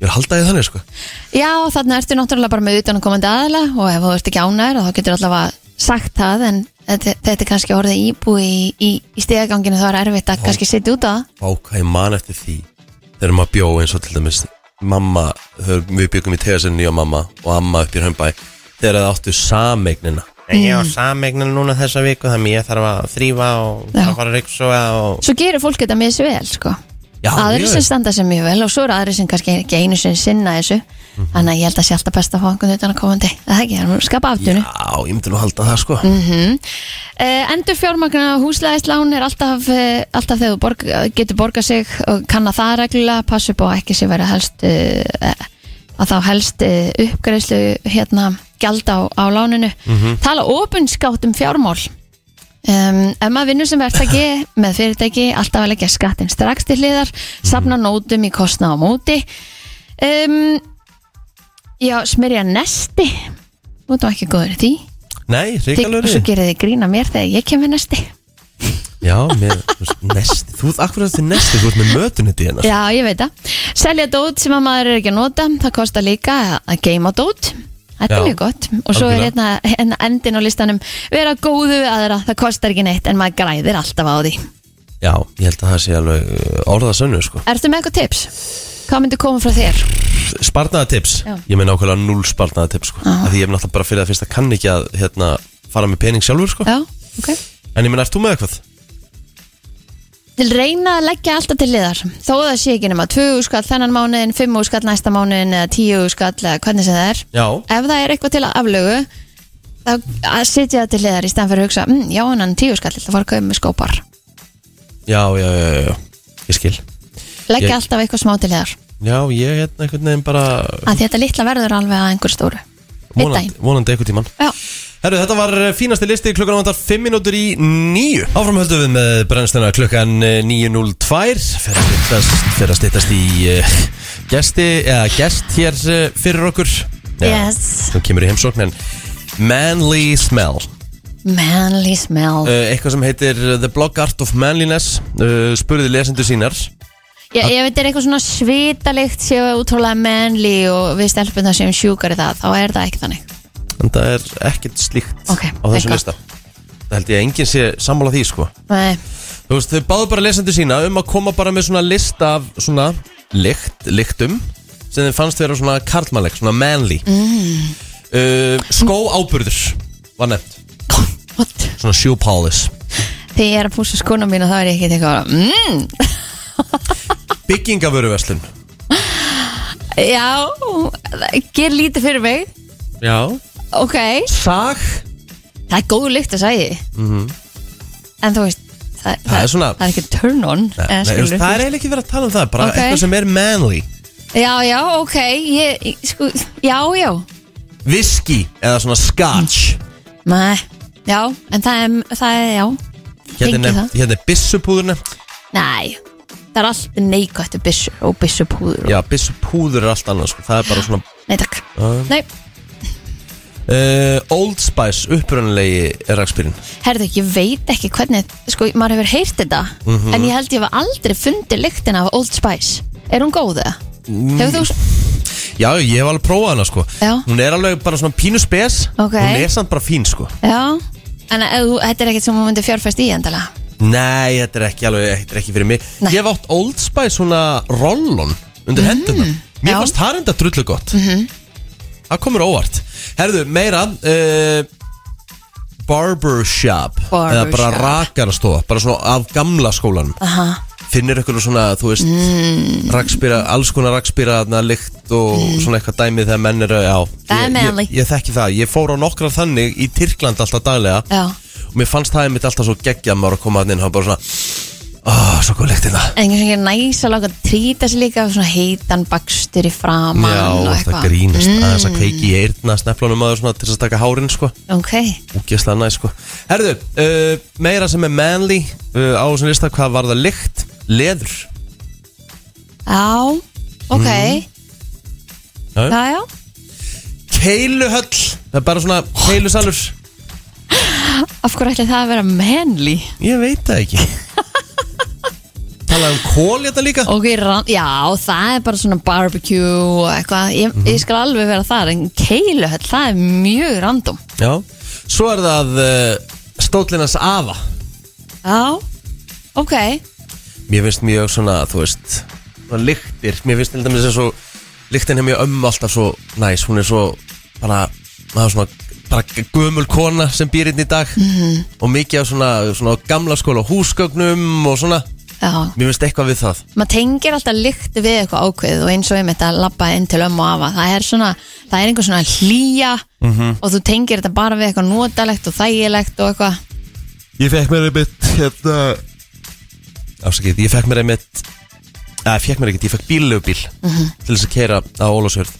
C: ég er haldaðið þannig sko
D: Já, þannig ertu náttúrulega bara með utanakomandi aðila og ef þú ert ekki ánæður þá getur allavega sagt það en þetta, þetta er kannski orðið íbúi í, í, í stegaganginu þá er erfitt að kannski setja út á það.
C: Vá, hvað ég man eftir því Þegar maður bjó eins og til dæmis Mamma, þegar við byggum í tegasinni og mamma og amma upp í Römbæ Þegar það áttu sameignina En ég á sameignina núna þessa viku þannig ég þarf að þrýfa og
D: Já.
C: fara ryksuga og
D: Svo gerir fólk þetta með þessu vel, sko.
C: Já,
D: aðri
C: mjög.
D: sem standa sem mjög vel og svo eru aðri sem kannski ekki einu sem sinna þessu. Þannig að ég held að sé alltaf best að fá einhvern utanakomandi. Það er ekki, það er að skapa aftunni.
C: Já, ég myndi nú halda það sko
D: Mm. Uh, endur fjármagna húslegaðislán er alltaf, uh, alltaf þegar þú borg, getur borgað sig og kann að það reglulega passa upp á að ekki sé verið helst uh, að þá helst uh, uppgreðslu hérna gjald á, á láninu tala opinskátt um fjármál um, ef maður vinnur sem verktaki með fyrirtæki alltaf að leggja skattinn strax til hliðar safna nótum í kostna á móti um, já, smyrja nesti nú er það ekki góður í því
C: Nei,
D: Þig, og svo
C: ríkalöri
D: gerir þið grína mér þegar ég kemur
C: (laughs)
D: næsti
C: Já, mér, þú veist, nesti Þú ert akkur að þetta nesti, þú ert með mötunetti hérna sko.
D: Já, ég veit það Selja dót sem að maður er ekki að nota Það kostar líka að geima dót Þetta er
C: Já,
D: mjög gott Og svo er
C: algjörlega.
D: hérna hérna endin á listanum Vera góðu við aðra, það kostar ekki neitt En maður græðir alltaf á því
C: Já, ég held að það sé alveg orðasönnu sko
D: Ertu með eitthvað tips? Hvað myndi koma frá þér?
C: (laughs) Sparnaðatips,
D: Já. Ah.
C: ég meina ákveðlega null sparnaðatips sko.
D: Já.
C: Af Því ég er náttúrulega bara fyrir það fyrst að kann ekki að hérna, fara með pening sjálfur sko.
D: Já, ok
C: En ég meina, ert þú með eitthvað?
D: Til reyna að leggja alltaf til liðar Þó að það sé ekki nema 2 skall þennan mánuðin 5 skall næsta mánuðin eða 10 skall eða hvernig sem það er
C: Já,
D: Ef það er eitthvað til að aflögu þá að sitja það til liðar í stæðan fyrir að hugsa mm, Já, en hann 10 skall, það var að kaupa með skópar
C: já, já, já, já, já. Ég skil
D: Leggja
C: Ég-
D: alltaf eitthvað smá til liðar
C: Já, ég hérna einhvern veginn bara
D: að Þetta litla verður alveg að einhver stóru Einn
C: vonandi,
D: daginn
C: vonandi eitthvað tíman
D: Já,
C: Herru, þetta var eh, fínasti listi klukkan vantar 5 minútur í 9 Áfram höldum við með brennstuna klukkan eh, 9.02 Fyrir að styttast, fyrir að styttast í uh, gesti, eða gest hér uh, fyrir okkur
D: Yes.
C: Nú kemur í heimsókn en Manly Smell
D: manly smell
C: uh, Eitthvað sem heitir The Blog Art of Manliness uh, Spurði lesendur sínar
D: Já, ef þetta er eitthvað svona svitalikt séu útrúlega manly og við stelpum það séum sjúkar í það, þá er það ekki þannig
C: En það er ekkert slíkt
D: Ok,
C: á þessum
D: eitthvað.
C: lista Það held ég að enginn sé sammála því sko
D: Nei,
C: Þú veist, þau báðu bara lesendur sína um að koma bara með svona lista af svona lykt, lyktum sem þeim fannst vera svona karlmannleg, svona manly mm. uh, Skó áburður var nefnt,
D: what?
C: svona shoe polish
D: Þegar ég er að púsa skona mín og þá er ég ekki eitthvað mm,
C: Byggingavöruverslun
D: Já, það ger lítið fyrir mig
C: Já
D: Ok,
C: Sag,
D: það er góð lykt að sagði mm En þú veist Það,
C: Mhm. Það er svona-
D: Það er ekki turn on
C: nei,
D: eða
C: nei, þú veist,
D: skilur.
C: það er eiginlega ekki verið að tala um það bara
D: Ok.
C: eitthvað sem er manly
D: Já, já, ok ég, ég- sko, Já, já
C: Whisky eða svona
D: Mm.
C: scotch
D: Nei, já, en það er, það er já
C: Hérna er
D: Tengi
C: nefnt- hérna er byssupúður nefnt
D: Nei, það er allt neikvættu byssur og byssupúður og...
C: Já, byssupúður er allt annað sko. það er bara svona
D: Nei takk, nei,
C: uh, Old Spice upprunalegi rakspyrinn
D: herðu, ég veit ekki hvernig sko, maður hefur heyrt þetta
C: Mhm.
D: en ég held ég hef aldrei fundið lyktina af Old Spice, er hún góð eða?
C: Mm.
D: Hefur þú,
C: Já, ég hef alveg prófað hana sko
D: Já.
C: Hún er alveg bara svona pínu spes
D: Ok.
C: Hún er samt bara fín sko
D: já en ef þú- þetta er ekkert sem hún myndi fjárfæst í endala
C: Nei, þetta er ekki alveg, þetta er ekki fyrir mig
D: Nei.
C: Ég hef átt Old Spice svona rollon undir mm. hendunum Mér
D: já. Mhm.
C: fannst það reynda drullu gott -hmm. Það komur óvart Herðu, meira uh, Barbershop Eða bara
D: Barbershop.
C: rakarastofa Bara svona af gamla skólanum
D: Aha.
C: Finnir ykkur svona, þú veist mm. Rakspýra, alls konar rakspýra þarna, Lykt og
D: Mm.
C: svona eitthvað dæmi þegar menn eru Já,
D: Það er
C: ég,
D: manly.
C: ég, ég þekki það Ég fór á nokkrar þannig í Tyrkland alltaf daglega
D: Já.
C: og mér fannst það einmitt alltaf svo geggja að maður að koma að inn og bara svona ah, svo góð lyktin það
D: en einhvers veginn er næs að láta trýta sér líka af svona heitan bakstur í framan
C: Já,
D: og
C: það
D: eitthvað. Mm.
C: grínast aðeins að kveiki í eyrna sneflunum aður svona til þess að taka hárin sko
D: ok,
C: úgeslega næ sko Herðu, uh, meira sem er manly uh, á þessum lista hvað var það lykt? Leður
D: já ok,
C: Mm. Já, já.
D: já, já
C: Keiluhöll Það er bara svona keilusalur
D: af hverju ætli það að vera manly?
C: Ég veit það ekki (laughs) Talaði um kól þetta líka
D: Ok, rann, já, það er bara svona barbecue og eitthvað Ég,
C: Mhm.
D: ég skal alveg vera þar, en keiluhöll, það er mjög random
C: Já Svo er það uh, stótlinas afa
D: Já, ok,
C: Mér finnst mjög svona, þú veist svona Lyktir, mér finnst til dæmis eins og Lyktin hef mjög ömmu alltaf svo næs Hún er svo bara Það er svona bara gömul kona sem býr inn í dag -hmm. Og mikið af svona, svona Gamla skóla húsgögnum Og svona,
D: já
C: mér finnst eitthvað við það
D: Maður tengir alltaf lykt við eitthvað ákveð og eins og einmitt að labba inn til ömmu og afa Það er svona, það er einhver svona hlýja
C: Mhm.
D: og þú tengir þetta bara við eitthvað notalegt og þægilegt og eitthvað
C: Ég fekk mér einmitt hérna Afsakið, ég fekk mér einmitt Æ, fekk mér ekkert, ég fekk bíllegubíl Til þess að keira á Ólafsjörð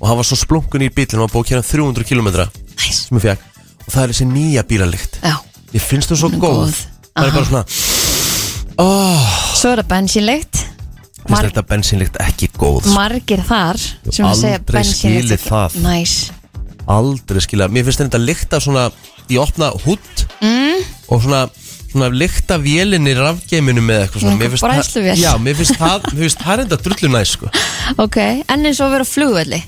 C: Og hann var svo splunkun í bílinn, hann var búið að kera 300 km
D: Næs,
C: sem ég fekk Og það er þessi nýja bílalikt
D: já
C: Ég finnst þú svo
D: Hún er
C: góð.
D: góð.
C: Það er bara svona
D: Svo er það bensínlykt
C: Finnst
D: Mar-
C: þetta bensínlíkt ekki góð sko.
D: Margir þar sem
C: Aldrei
D: segja bensínlykt
C: skilið
D: ekki-
C: það.
D: Næs,
C: Aldrei skilja Mér finnst þetta líkta svona Í opna hútt mm. Og svona Svona líkta vélinni rafgeiminu með eitthvað svona
D: Einhver
C: Mér finnst það-
D: bræðsluvél.
C: Já, mér finnst það Mér finnst það reynda drullu næ sko
D: ok, en eins og að vera á flugvelli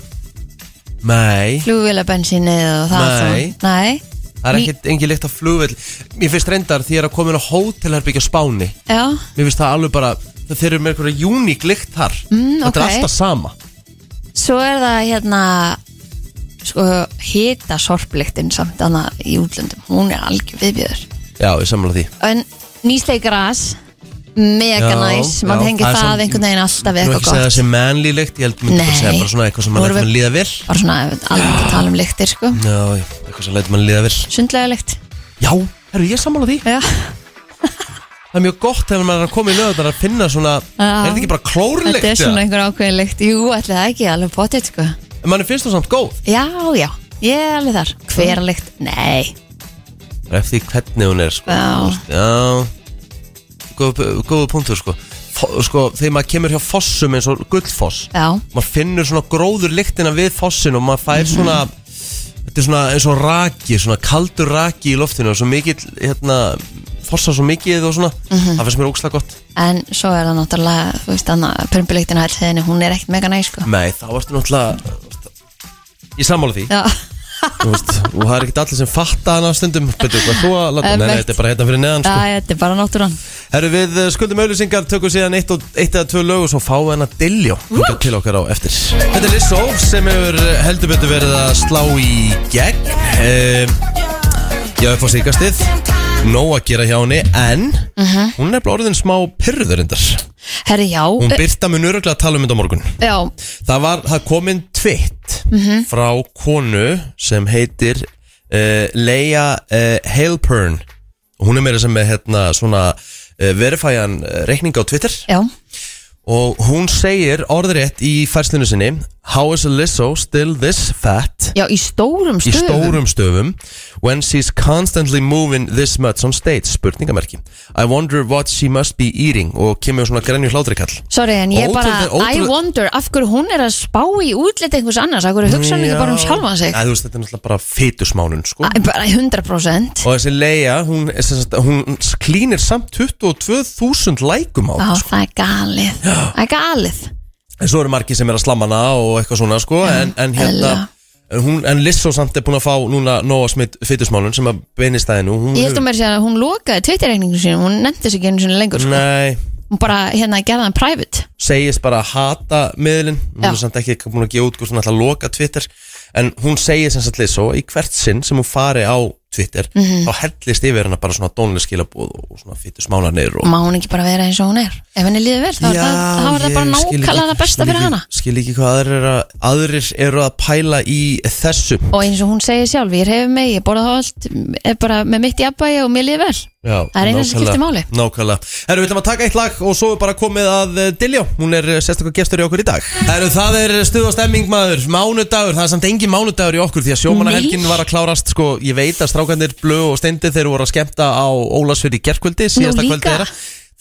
C: Nei
D: flugvélabensinnið og það
C: Nei.
D: þá- Nei.
C: Það er ekkert engin líkt af flugvell Mér finnst reyndar því ég er að koma inn á hótelherbyggja á Spáni
D: Já,
C: Mér finnst það alveg bara þeir eru með einhverja uník lykt þar
D: Mm,
C: Þetta er
D: ok.
C: alltaf sama
D: Svo er það hérna sko, hita sorplyktin samt hana í útlöndum, hún er algjör viðbjöður
C: Já, ég samla því
D: en nýsleik gras mega
C: Já,
D: næs,
C: já,
D: maður tengi
C: það er
D: það
C: samt-
D: einhvern veginn alltaf
C: Nú
D: við eitthvað
C: ekki segja
D: gott
C: þessi manly lykt Ég held myndi bara
D: Nei.
C: segja bara svona eitthvað sem mann
D: Nú erum
C: lætur
D: við-
C: mann líða vel
D: bara svona alveg að tala um lyktir sko
C: Já, já, eitthvað sem lætur mann líða vel
D: sundlega lykt
C: Já, herru, ég samla því
D: já.
C: Það er mjög gott þegar maður er að koma í nöðunar að finna svona Er þetta ekki bara klórlykt?
D: þetta er svona
C: eða?
D: einhver ákveðin lykt jú, ætli það ekki, alveg potið sko
C: En mann finnst þú samt góð
D: já, já, ég er alveg þar hver lykt, nei
C: Það er Eftir því hvernig hún er sko.
D: Já.
C: Já Góð- Góðu punktur sko. Fo- sko Þegar maður kemur hjá fossum eins og gullfoss
D: já,
C: Maður finnur svona gróður lyktina við fossin Og maður fær svona Þetta er svona eins og raki Svona kaldur raki í loftinu Og svo mikill hérna, Fossar svo mikið og svona Það finnst mér ógslag gott
D: en svo er það náttúrulega þú veist, anna, prumpulyktin á allsæðinu, hún er ekkert mega næs sko
C: Nei, þá ertu náttúrulega Ég sammála því
D: já,
C: Þú veist, Og það er ekkert allir sem fatta hana stundum Betur, hvað þú að láta Nei, nei,
D: Einmitt.
C: þetta er bara hérna fyrir neðan sko.
D: já, þetta er bara náttúran
C: Herru við eh, skuldum auðlýsingar, tökum síðan eitt, og, eitt eða tvö lög og svo fáum við hana Dilljó hingað til okkar á eftir. Þetta er Lissó sem hefur eh, heldur betur verið að slá í gegn. Um, já, upp á síkastið. Nó að gera hjá henni, en hún er bara orðin smá pyrrðurindar.
D: herri, já,
C: Hún
D: eh,
C: byrta mun öruglega að tala um þetta á morgun.
D: já,
C: Það var, það komin tvitt
D: Mhm.
C: frá konu sem heitir uh, Leia uh, Halpern og hún er meira sem er hérna svona uh, verifæjan uh, reikning á Twitter
D: já
C: og hún segir orðrétt í færslinu sinni How is Lizzo still this fat?
D: já, í stórum
C: Í
D: stöðum
C: stórum stöfum When she's constantly moving this much on stage Spurningamerki I wonder what she must be eating Og kemur svona grenju hlátrikall
D: Sorry, en ég bara,
C: Ótrúlega- ótrúlega-
D: I wonder af hverju hún er að spá í útlit einhvers annars, af hverju hugsa hún ekki bara um sjálfan sig
C: Æ, þú veist, Þetta er náttúrulega bara fytusmánun sko.
D: Æ, bara 100%
C: Og þessi Leia, hún, er sem sagt- hún klínir samt 22.000 lækum á
D: Já,
C: það sko.
D: það er galið Það er galið
C: En svo eru margir sem er að slamma hana og eitthvað svona sko. en, en hérna
D: eðlilega.
C: en hún, en Lissó samt er búin að fá núna Nóa Smith fytusmálun sem að beinist aðeins nú Hún
D: Ég held að mér sé að hún lokaði tveitirreikningu sínum Hún nefndi sig ekki einu sinni lengur sko.
C: Nei,
D: Hún bara hérna gerði hann private
C: segist bara að hata miðlinn Hún
D: Já.
C: er samt ekki búin að gefa út hvort hún ætla að loka Twitter En hún segir sem sagt Lissó í hvert sinn sem hún fari á Twitter
D: Mhm.
C: Þá hellist yfir hana bara svona dónleyskilabóð og svona fytusmálanir og
D: Má hún ekki bara vera eins og hún er Ef henni líður vel, þá er það, þá er það
C: ég
D: bara
C: skil ekki-
D: nákvæmlega það besta
C: skil
D: fyrir
C: ekki-
D: hana
C: Skil ekki hvað aðrir eru, að, aðrir eru að pæla í þessu
D: Og eins og hún segir sjálf, ég hefur mig, ég borða það allt Er bara með mitt í abbæja og mér líður vel
C: Já,
D: Það er eina sem
C: nákvæmlega-
D: skiptir máli.
C: Nákvæmlega Herru, við ætlum að taka eitt lag og svo er bara komið að eh, Diljá Hún er eh, sérstaklega gestur í okkur í dag Herru, það er stuð og stemming maður Mánudagur, það er samt engin mánudagur í okkur Því að sjómanahelgin
D: Nei.
C: var að klárast Sko, ég veit að strákanir blöð og steindi Þeir voru að skemmta á Ólasfjörði í gerkvöldi Síðasta
D: líka.
C: kvöldi þeirra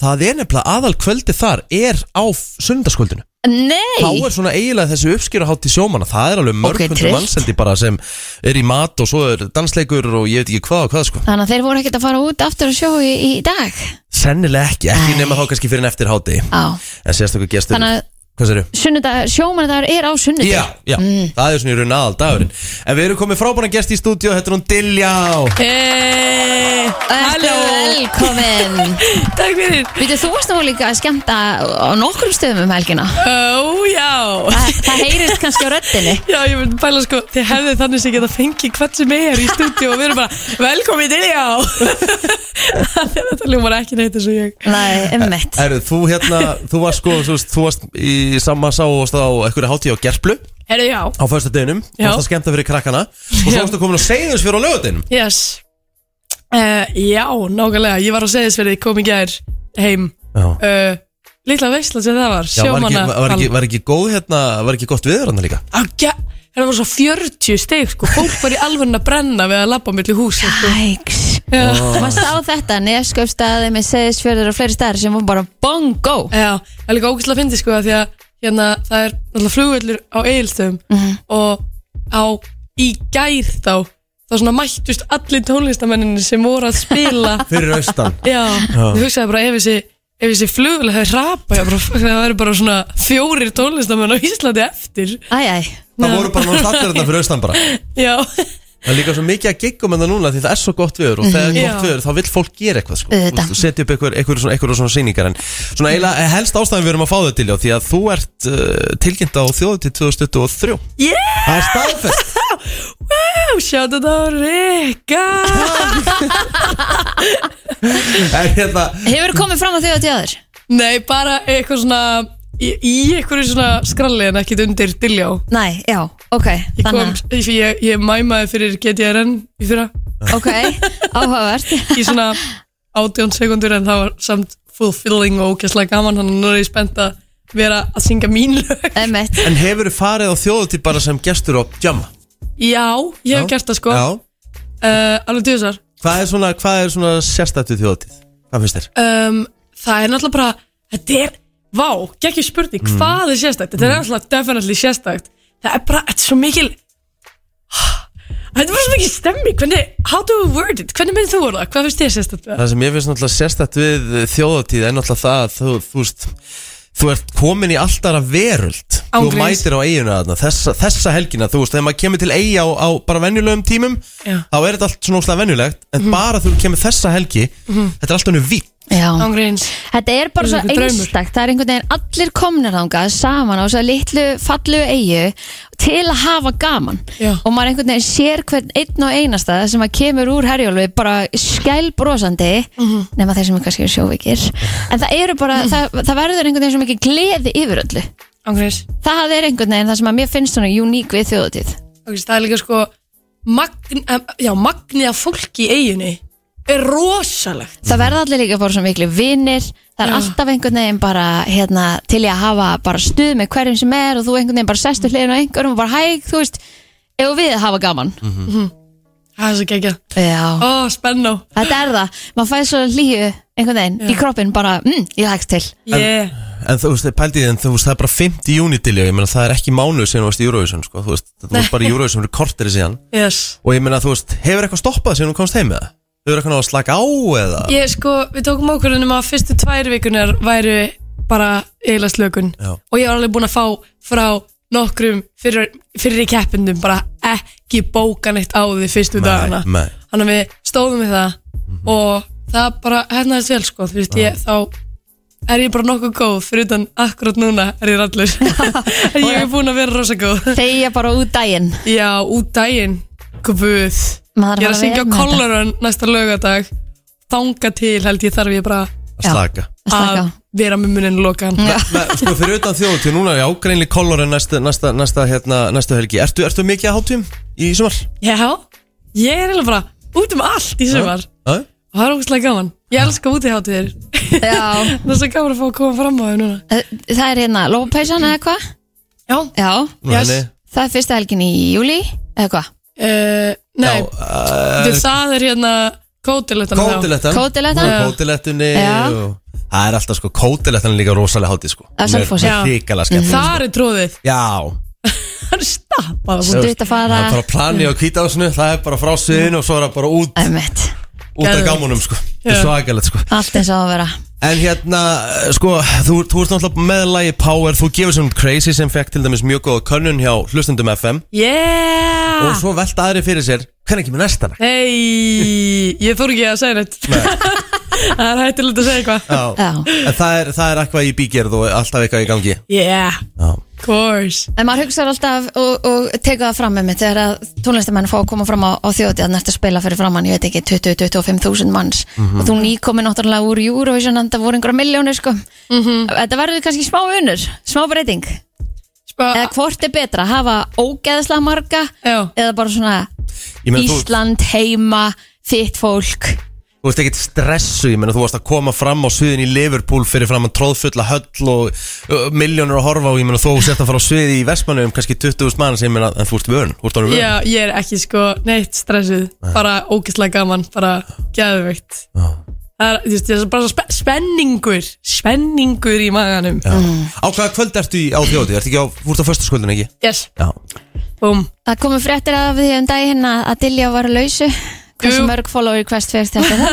C: Það er nefnilega aðal kvöldi þar Er á sundarskvöldinu
D: Nei,
C: þá er svona eiginlega þessi uppskýruhátt í sjómanna það er alveg mörg
D: Ok,
C: hundur
D: trillt.
C: mannseldi bara sem er í mat og svo er dansleikur og ég veit ekki hvað og hvað sko
D: þannig að þeir voru ekkert að fara út aftur að sjó í, í dag
C: sennilega ekki, ekki
D: Nei.
C: nema þá kannski fyrir en eftir háti
D: Á,
C: en sérstaklega gestur
D: þannig að
C: hvað sér
D: sunnudag, sjómanadagur er á sunnudag Mm.
C: Já, já, það er svona í raun aðal dagurinn En við erum komið frábæna gest í stúdíu, þetta er hún Diljá
J: Hey,
D: Halló Velkomin
J: Eh,
D: (laughs)
J: Takk fyrir
D: Vitið, þú varst nú líka að skemmta á nokkrum stöðum um helgina
J: Ó, já
D: Þa, Það heyrist kannski á röddinni
J: Já, ég myndi pæla sko, þið hefðu þannig sem geta fengið hvert sem er í stúdíu og við erum bara velkomin til, já Þetta ljómar ekki neitt eins og ég
D: Nei, ummitt
C: Erðu, þú hérna, þú varst sko, þú, veist, þú varst í sama sá og varst á einhverju hátíð á Gerplu á
J: Herðu, já,
C: föstu deginum, þú
J: Já.
C: varst að skemmta fyrir krakkana og svo
J: Já.
C: varstu komin á segðus fyrir á lögutinum
J: yes uh, Já, nákvæmlega, ég var á segðisverði, kom í gær heim
C: Já,
J: uh, Lítla veistla sem það var,
C: já var, ekki,
J: sjómanna Ah,
C: var, ekki, var ekki góð hérna, var ekki gott viður hérna líka
J: Það var hérna svo 40 steg, sko, fólk var í alveg að brenna við að labba á milli hús sko.
D: Æks
J: Já.
D: Þú varst á þetta, nefskaupstaði með seðisfjörður og fleiri staðar sem var bara bongo
J: Já, það er líka ógæslega fyndið sko af því að hérna, það er náttúrulega flugvöllur á Egilstöðum og á í gær þá þá svona mættust allir tónlistamenninni sem voru að spila
C: (laughs) fyrir austan
J: Já, þú hugsaði bara ef þessi ef þessi flugvöllur hefði hrapa ég bara, (laughs) fuck, það væri bara svona fjórir tónlistamenn á Íslandi eftir
D: Æ, æ
C: hérna Það voru bara náttúrulega allir þarna fyrir austan bara
J: Já, (laughs)
C: Það er líka svo mikið að giggum en það núna því það er svo gott viður og þegar
D: Mhm.
C: er gott
D: Já.
C: viður þá vill fólk gera eitthvað sko.
D: Auðvitað.
C: Þú veist, Setja upp eitthvað, eitthvað, svona, eitthvað svona sýningar en svona
J: Mm.
C: eiginlega helst ástæðan við erum að fá þau til já, því að þú ert uh, tilkynnt á þjóðu til 2023
J: Yeah!
C: Það er staðfest
J: Wow, sjáðu þetta á Rikka
C: En hérna
D: Hefur komið fram á þau að þjóður?
J: Nei, bara eitthvað svona Í, í eitthvað svona skralli en ekkit undir dilljá
D: Nei, já, ok
J: Ég, kom, ég, ég, ég mæmaði fyrir GTRN í fyrra
D: Ok, áhugavert
J: Í svona 18 sekundur en það var samt fulfilling og ókesslega gaman Þannig að nú er ég spennt að vera að syngja mín lög
D: Emmett
C: En hefur þið farið á þjóðu til bara sem gestur á jamma?
J: Já, ég hef
C: Já.
J: gert það sko
C: Já,
J: uh, Alveg djúsar
C: hvað er svona, hvað er svona sérstættu þjóðu til? Hvað finnst þér?
J: um, Það er náttúrulega bara Þetta er, vá, geggjum spurning
C: Mm.
J: Hvað er sérstækt? Þetta er náttúrulega definitely sérstækt Það er bara, þetta er svo mikil (sighs) Þetta er bara svo mikil stemmi Hvernig, how do we word it? Hvernig myndið þú orða? Hvað finnst þér sérstækt? við það?
C: Það sem ég finnst náttúrulega sérstætt við þjóðatíð er náttúrulega það að þú, þú veist Þú ert komin í alltaf að veröld
J: Án
C: Þú
J: gríns.
C: mætir á eiguna þarna þessa, þessa helgina, þú veist, þegar maður kemur til eiga á, á bara venjulegum tímum
J: Já.
C: Þá er þetta allt svona óslega venjulegt En bara þú kemur þessa helgi
D: Mhm.
C: Þetta er allt hennu vitt
D: Já
J: Ángríns
D: Þetta er bara
J: Það
D: svo
J: er einhver draumur.
D: einstakt Það er einhvern veginn allir komnir þangað saman á svo litlu fallu eigu til að hafa gaman
J: Já.
D: og maður einhvern veginn sér hvern einn og einasta sem að kemur úr herjólfi bara skælbrosandi
J: Mhm.
D: nema þeir sem er kannski eru sjóveikir en það eru bara, það, það verður einhvern veginn svo mikið gleði yfir öllu
J: Ángríns
D: Það er einhvern veginn það sem að mér finnst svona uník við þjóðatíð
J: Ok, Það er líka sko magn, em, Já, magni af fólki í eiginni Er rosalegt
D: Það verða allir líka bara svona miklu vinnir Það er
J: Já.
D: alltaf einhvern veginn bara hérna, til ég að hafa bara stuð með hverjum sem er og þú einhvern veginn bara sestu hliðin og einhverjum og bara hæg, þú veist, ef við hafa gaman
J: Það er svo geggja
D: Já,
J: Ó, spennó
D: þetta er það maður fæði svo hlýju einhvern veginn í kroppin bara, mm, ég hægst til
J: Yeah
C: En þú veist, pældi því, en þú veist, það er bara 50 júni til ég meina, það er ekki mánuð síðan þú varst í Eurovision, sko Þú veist, þú veist bara í Eurovision fyrir korteri síðan
J: Yes
C: Og ég meina, þú veist, hefur eitthvað stoppað síðan þú komst heim með það? Hefur eitthvað náð að slaka á eða?
J: Ég sko, við tókum ákvörðunum að fyrstu tvær vikunar væru bara eiginlega slökun
C: Já.
J: og ég var alveg búin að fá frá nokkrum fyrir, fyrir í keppindum bara ekki bókan eitt á því fyrstu dagana
C: nei.
J: þannig að við stóðum við það
C: Mhm.
J: og það bara hefnaðist vel sko þú veist ég þá er ég bara nokkuð góð fyrir utan akkurat núna er
C: (laughs)
J: ég rallur (laughs) ég er búin að vera rosa góð
D: Þegar ég bara út daginn
J: já út daginn gubuð
D: Maður
J: ég
D: þarf
J: er að
D: að vera hérna með
J: syngja á
D: þetta.
J: Collarun næsta lögadag þanga til held ég þarf ég bara
C: Að slaka
D: Að slaka á.
J: að vera með muninu lokaðan
C: Nei, sko, fyrir utan þjóðutíð, núna er ágreinli kolor en næsta, næsta, næsta, hérna, næsta helgi Ertu, ertu mikið að hátum í sumar?
J: já, ég er eiginlega bara út um allt í sumar
C: Já,
J: og það er ógustlega gaman, ég elska úti hátu þér
D: Já,
J: (laughs) það er svo gaman að fá að koma fram á þau núna
D: það er hérna lópapæsan eða hvað?
J: já,
D: Já,
C: nú
J: Yes.
C: henni
D: það er fyrsta helgin í júli eða hvað?
J: uh, nei,
C: Já,
J: uh,
C: uh,
J: það er hérna kótilettan
C: Kótilettan
D: Kótilettan.
C: Hún er Kótilettunni
D: Já.
C: og- Það er alltaf sko, kótilettan er líka rosalega hátíð sko
D: Á Selfossi.
J: Já. Mhm.
C: Ríkala skemmt
J: þar er tróðið,
C: Já,
J: (laughs) hann er stappað
C: þú
D: Stutt
C: veist,
D: að fara
C: það er bara planið á kvításinu Það er bara frá suðinu og svo er það bara út
D: Emmett,
C: Út af
J: Geðveikt.
C: gamunum sko Það er
J: Já.
C: svakalegt sko
D: allt eins og að vera
C: En hérna, eh, sko, þú, þú ert náttúrulega með lagi Power, þú gefur sem Crazy sem fekk til dæmis mjög góða könnun hjá hlustendum FM og
J: yeah
C: svo velta aðri fyrir sér hvernig kemur næsta lag
J: hei, ég þór ekki að segja neitt (laughs) það er hættilegt að segja eitthvað
C: Já.
D: Já.
C: En það er, það er eitthvað í bígerð og alltaf eitthvað í gangi
J: yeah,
C: Já.
J: of course
D: En maður hugsaður alltaf og, og teka það fram með mig þegar að tónlistamenn fá að koma fram á, á þjóti að næsta spila fyrir framann, ég veit ekki, 20-25.000 manns
C: Mhm.
D: og þú nýkomin náttúrulega úr Eurovision en það voru einhverja miljónir sko
J: Mhm.
D: Þetta verður kannski smá unur, smá breyting
J: Spa,
D: eða hvort er betra, hafa ógeðslega marga
J: Ah. já,
D: eða bara svona
C: Ég meina, þú,
D: Ísland, heima, þitt fólk
C: þú veist ekkit stressu, ég meina þú varst að koma fram á suðin í Liverpool fyrir fram að tróðfulla höll og uh, miljónur að horfa og ég meina þú sett að fara á suði í Vestmannu um kannski 20.000 mann sem ég meina, en þú ert vörn, þú ert ánum vörn
J: Já, ég er ekki sko neitt stressið bara ógeðslega gaman, bara geðveikt Það er, þú veist, það er bara svo spe spenningur spenningur í maganum
C: Já. Á hvaða kvöld ertu í, á þjóti? Ertu ekki á, þú ert á föstaskvöldin ekki?
J: Yes,
C: Já.
J: búm
D: Það komu fréttir af því um daginn að að Dilja var lausu Hversu
J: Jú. (laughs)
D: mörg follow request fyrst þetta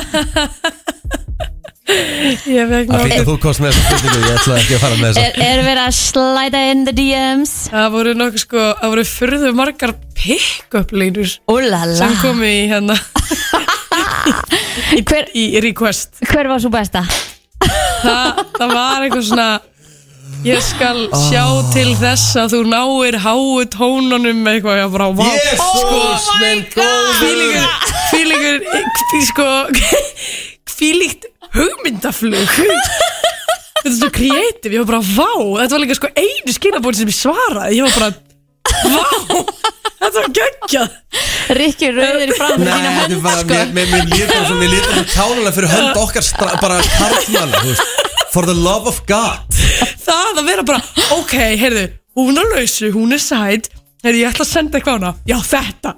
J: Ég veit
C: Það fyrir að
J: ná
C: þú komst með þessu spurningu, ég ætlaði ekki að fara með
D: Er,
C: þessu
D: er verið að slæta in the DMs?
J: Það voru nokkuð sko, það voru furðu margar pick-up línur
D: Úlala
J: sem komi í hérna (laughs) í, hver, í request
D: Hver var svo besta?
J: Þa, Það var eitthvað svona Ég skal sjá til þess að þú náir háu tónunum eitthvað, ég bara, vá
C: Jésús, minn góður
J: Fílingur, fílingur, sko, fílíkt hugmyndaflug. Þetta er svo kreatív, ég var bara, vá, þetta var líka sko einu skilabóti sem ég svaraði, ég var bara, vá, þetta var geggjað.
D: Rikki rauðir í fram
C: Nei, þetta er
J: sko.
C: bara, mér, mér, mér líður svo, mér líður svo tánulega fyrir hönd okkar stra, bara karlmann, þú veist For the love of God
J: Það að vera bara, ok, heyrðu, hún er lausu, hún er sæt, heyrðu, ég ætla að senda eitthvað á hana, já, þetta,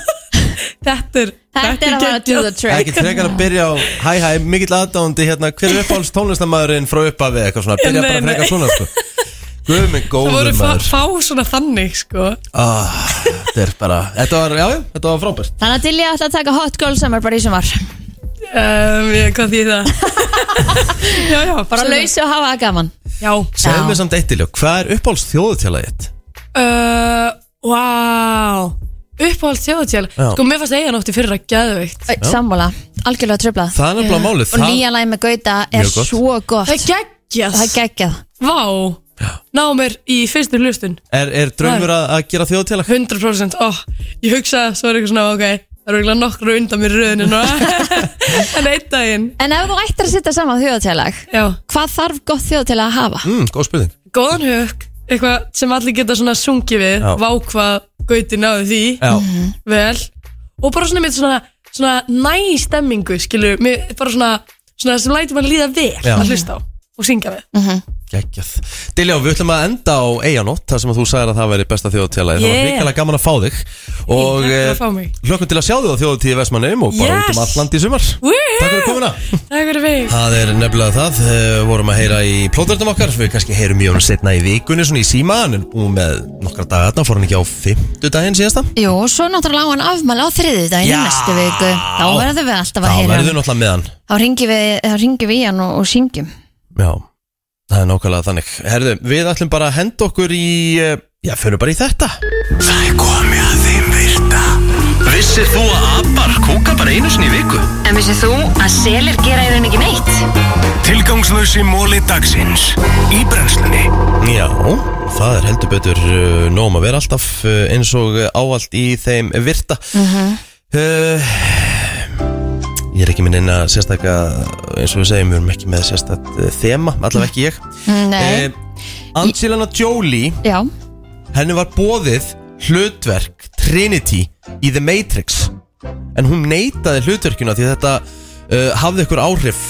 J: (laughs) þetta er,
D: Þetta er að fara að do
J: geggjað.
D: the
C: Það er
D: trick
C: ekki frekar að byrja á, hæ hæ, mikill aðdándi hérna Hver er uppáhalds tónlistamæðurinn frá uppafi eitthvað svona Byrja bara
J: Nei, nei.
C: frekar svona, sko Guð minn
J: Það voru
C: góður
J: fá,
C: maður
J: fá svona þannig, sko.
C: ah, Þetta er bara, þetta var, já, já, þetta var frábært
D: Þannig að til ég ætla að taka hot girl summer bara í sumar
J: Um, ég, hvað þýð það? (laughs) já, já,
D: Bara
J: segðu.
D: lausi og hafa það gaman
J: Já,
C: Segðu
D: Já.
C: mér samt eitt til, hvað er uppáhalds þjóðutjálega þitt?
J: Uh, wow Uppáhald þjóðatjál
C: Já.
J: Sko, mér fannst eiginótti fyrir að geðveikt
D: Æ, Sammála, algjörlega tröflað
C: Það er nefnilega málið,
D: Og
C: það-
D: nýja lagi með Gauta er
C: Mjög gott.
D: svo
J: Það er
D: gott
J: geggjast
D: Það er geggjað
J: Vá Ná mér í fyrstu hlustun
C: Er, er draumur að, að gera þjóðutjálega?
J: 100% oh, Ég hugsaði, svo er eitthvað svona, ok Það eru eiginlega nokkru undan mér í röðinu núna. En einn daginn
D: En ef þú ættir að sitta saman þjóðatjálag
J: Já
D: Hvað þarf gott þjóðatjálag að hafa?
C: Mm, góð spurning
J: Góðan hug Eitthvað sem allir geta svona sungið við
C: Já.
J: Vá hvað gauti náðu því
C: Já,
J: vel og bara svona með svona, svona næ stemmingu skilur, með bara svona, svona sem lætur mann líða vel
C: Já.
J: að hlusta á og syngja við
C: geggjað Diljá, við ætlum að enda á eiganótt þar sem að þú sagðir að það væri besta þjóðutjálega Það var
J: Yeah.
C: hrikalega gaman að fá þig Og
J: Takk fyrir
C: eh,
J: að fá mig.
C: hlökkum til að sjá þig á þjóðutíði Vestmannum og bara
J: Yes.
C: út um alland í sumar
J: Woohoo!
C: Takk fyrir komuna
J: Takk fyrir mig
C: Það er nefnilega það, eh, vorum að heyra í plóðverðum okkar, við kannski heyrum í honum setna í vikunni, svona í síma, hann er búin með nokkra dagarna, fór hann ekki á fimmtudaginn síðasta?
D: Jú, og svo náttúrulega á hann afmæli á þriðjudaginn í
C: Já.
D: næstu viku Þá verðum við alltaf að
C: Þá
D: heyra
C: verður
D: hann.
C: við náttúrulega með hann.
D: Þá ringjum við, þá ringjum við í hann og, og syngjum
C: Já, það er nákvæmlega þannig. Herðu, við ætlum bara að henda okkur í, eh, já, förum bara í þetta.
B: Það er komið að þeim virta Vissir þú að abar kúka bara einu sinni í viku?
K: En vissið þú að selir gera í raun ekki neitt?
B: Tilgangslösi móli dagsins Í brennslunni
C: Já, það er heldur betur uh, nóg um að vera alltaf uh, eins og uh, áallt í þeim virta uh, Ég er ekki minn eina sérstaka, eins og við segjum, við erum ekki með sérstak uh, þema, allavega ekki ég
D: Nei,
C: Eh, Angelina Jolie,
D: já
C: henni var bóðið hlutverk Trinity í The Matrix en hún neitaði hlutverkuna því að þetta uh, hafði ykkur áhrif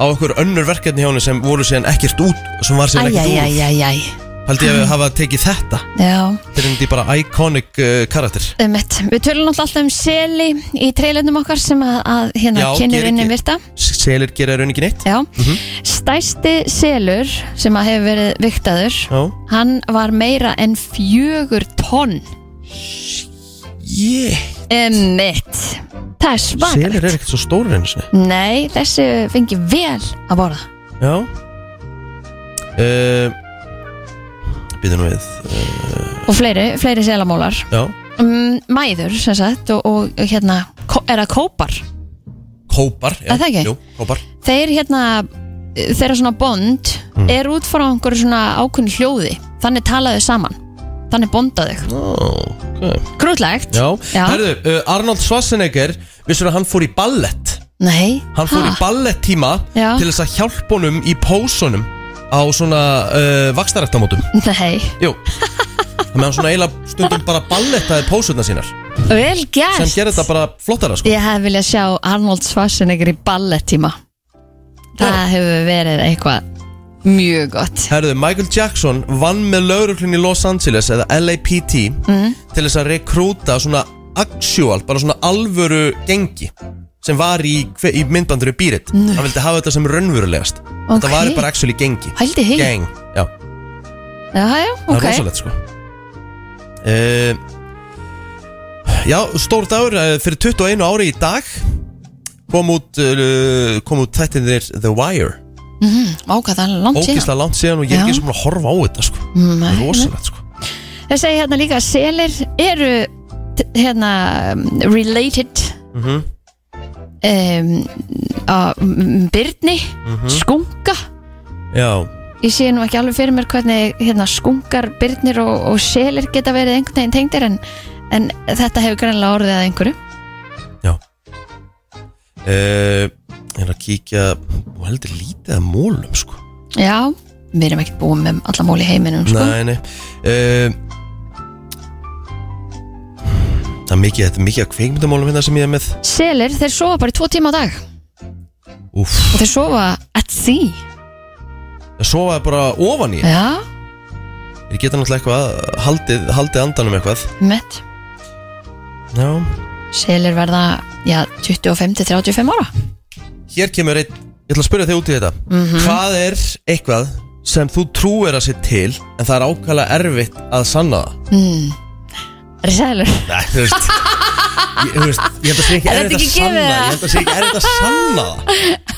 C: á ykkur önnur verkefni hjá henni sem voru síðan ekkert út sem var síðan ekkert úr
D: Æjæjæjæjæj
C: haldi ég að hafa tekið þetta
D: Já,
C: Trinity bara iconic uh, karakter
D: ummitt Við tölum náttúrulega alltaf um seli í treylendum okkar sem að, að hérna
C: Já,
D: kynir
C: gerir
D: inn
C: ekki.
D: virta
C: selir gera í raun ekki neitt
D: Já, stæsti selur sem að hefur verið viktaður
C: Já.
D: hann var meira en fjögur tonn
C: yeah.
D: Emmitt Það er svakar
C: selir er ekkert svo stórir einu sinni
D: Nei, þessi fengi vel að borða
C: já uh, býtum við uh,
D: og fleiri, fleiri selamólar
C: já
D: um, Mæður, sem sagt og, og hérna, ko- er það kópar
C: kópar já,
D: Er það ekki?
C: Jú, kópar
D: Þeir hérna, þeirra svona bond
C: Mm.
D: er út frá einhverju svona ákunni hljóði þannig talaðu saman þannig bondaðu þig
C: oh, okay.
D: Krútlegt
C: Já,
D: Já.
C: herðu, uh, Arnold Schwarzenegger Vissur að hann fór í ballett
D: Nei,
C: Hann fór í ballett tíma
D: Já.
C: Til þess að hjálpa honum í pósunum Á svona uh, vakstarættamótum
D: Nei, (laughs)
C: Jú Þannig að hann svona eiginlega stundum bara ballettaði pósurna sínar
D: vel gert
C: Sem gerir þetta bara flottara sko
D: Ég hef viljað sjá Arnold Schwarzenegger í ballettíma Það hefur verið eitthvað mjög gott
C: Herðu, Michael Jackson vann með lauruglun í Los Angeles Eða LAPT
D: Mhm.
C: Til þess að rekrúta svona actual Bara svona alvöru gengi Sem var í, hve- í myndbandur í býrit Hann vildi hafa þetta sem raunverulegast Þetta
D: Ok.
C: var bara actually gengi
D: Hældi hei
C: Gang, já,
D: Já, já,
C: það
D: ok
C: er rosalegt sko uh, eh, Já, stór dagur uh, fyrir 21 ári í dag kom út, uh, kom út tættinir The Wire
D: Mhm, Vá, hvað það er langt síðan
C: Ógislega langt síðan og ég er
D: Já.
C: ekki svona að horfa á þetta sko.
D: Nei, nei.
C: Rosalegt sko.
D: Það segir hérna líka að selir eru t- hérna um, related
C: mm
D: Mhm.
C: -hmm.
D: um, að um, byrni,
C: Mhm.
D: skunka
C: Já,
D: Ég sé nú ekki alveg fyrir mér hvernig hérna, skunkar, byrnir og, og selir geta verið einhvern veginn tengdir en, en þetta hefur greinlega orðið að einhverju
C: uh, ég er að kíkja og heldur lítið að mólum sko.
D: Já, við erum ekkert búin með alla mól í heiminum sko.
C: Nei, nei uh, Það er mikið, þetta er mikið að kveikmyndamálum hérna sem ég er með
D: Selir, þeir sofa bara í tvo tíma á dag
C: Úf.
D: og þeir sofa at sea
C: Það sofaði bara ofan í
D: Já,
C: Ég geta náttúrulega eitthvað haldið, haldið andanum eitthvað
D: mitt
C: Já
D: Selir verða já, 25-35 ára
C: Hér kemur einn, ég ætla að spyrja þig út í þetta
D: Mhm.
C: Hvað er eitthvað sem þú trúir að sér til en það er ákvæmlega erfitt að sanna það
D: mm. Selir
C: Nei, þú veist Ég, þú veist, ég held að sé ekki
D: Er
C: erfitt að
D: þetta ekki
C: sanna
D: gefið
C: það Ég held
D: það?
C: að sé ekki erfitt að sanna það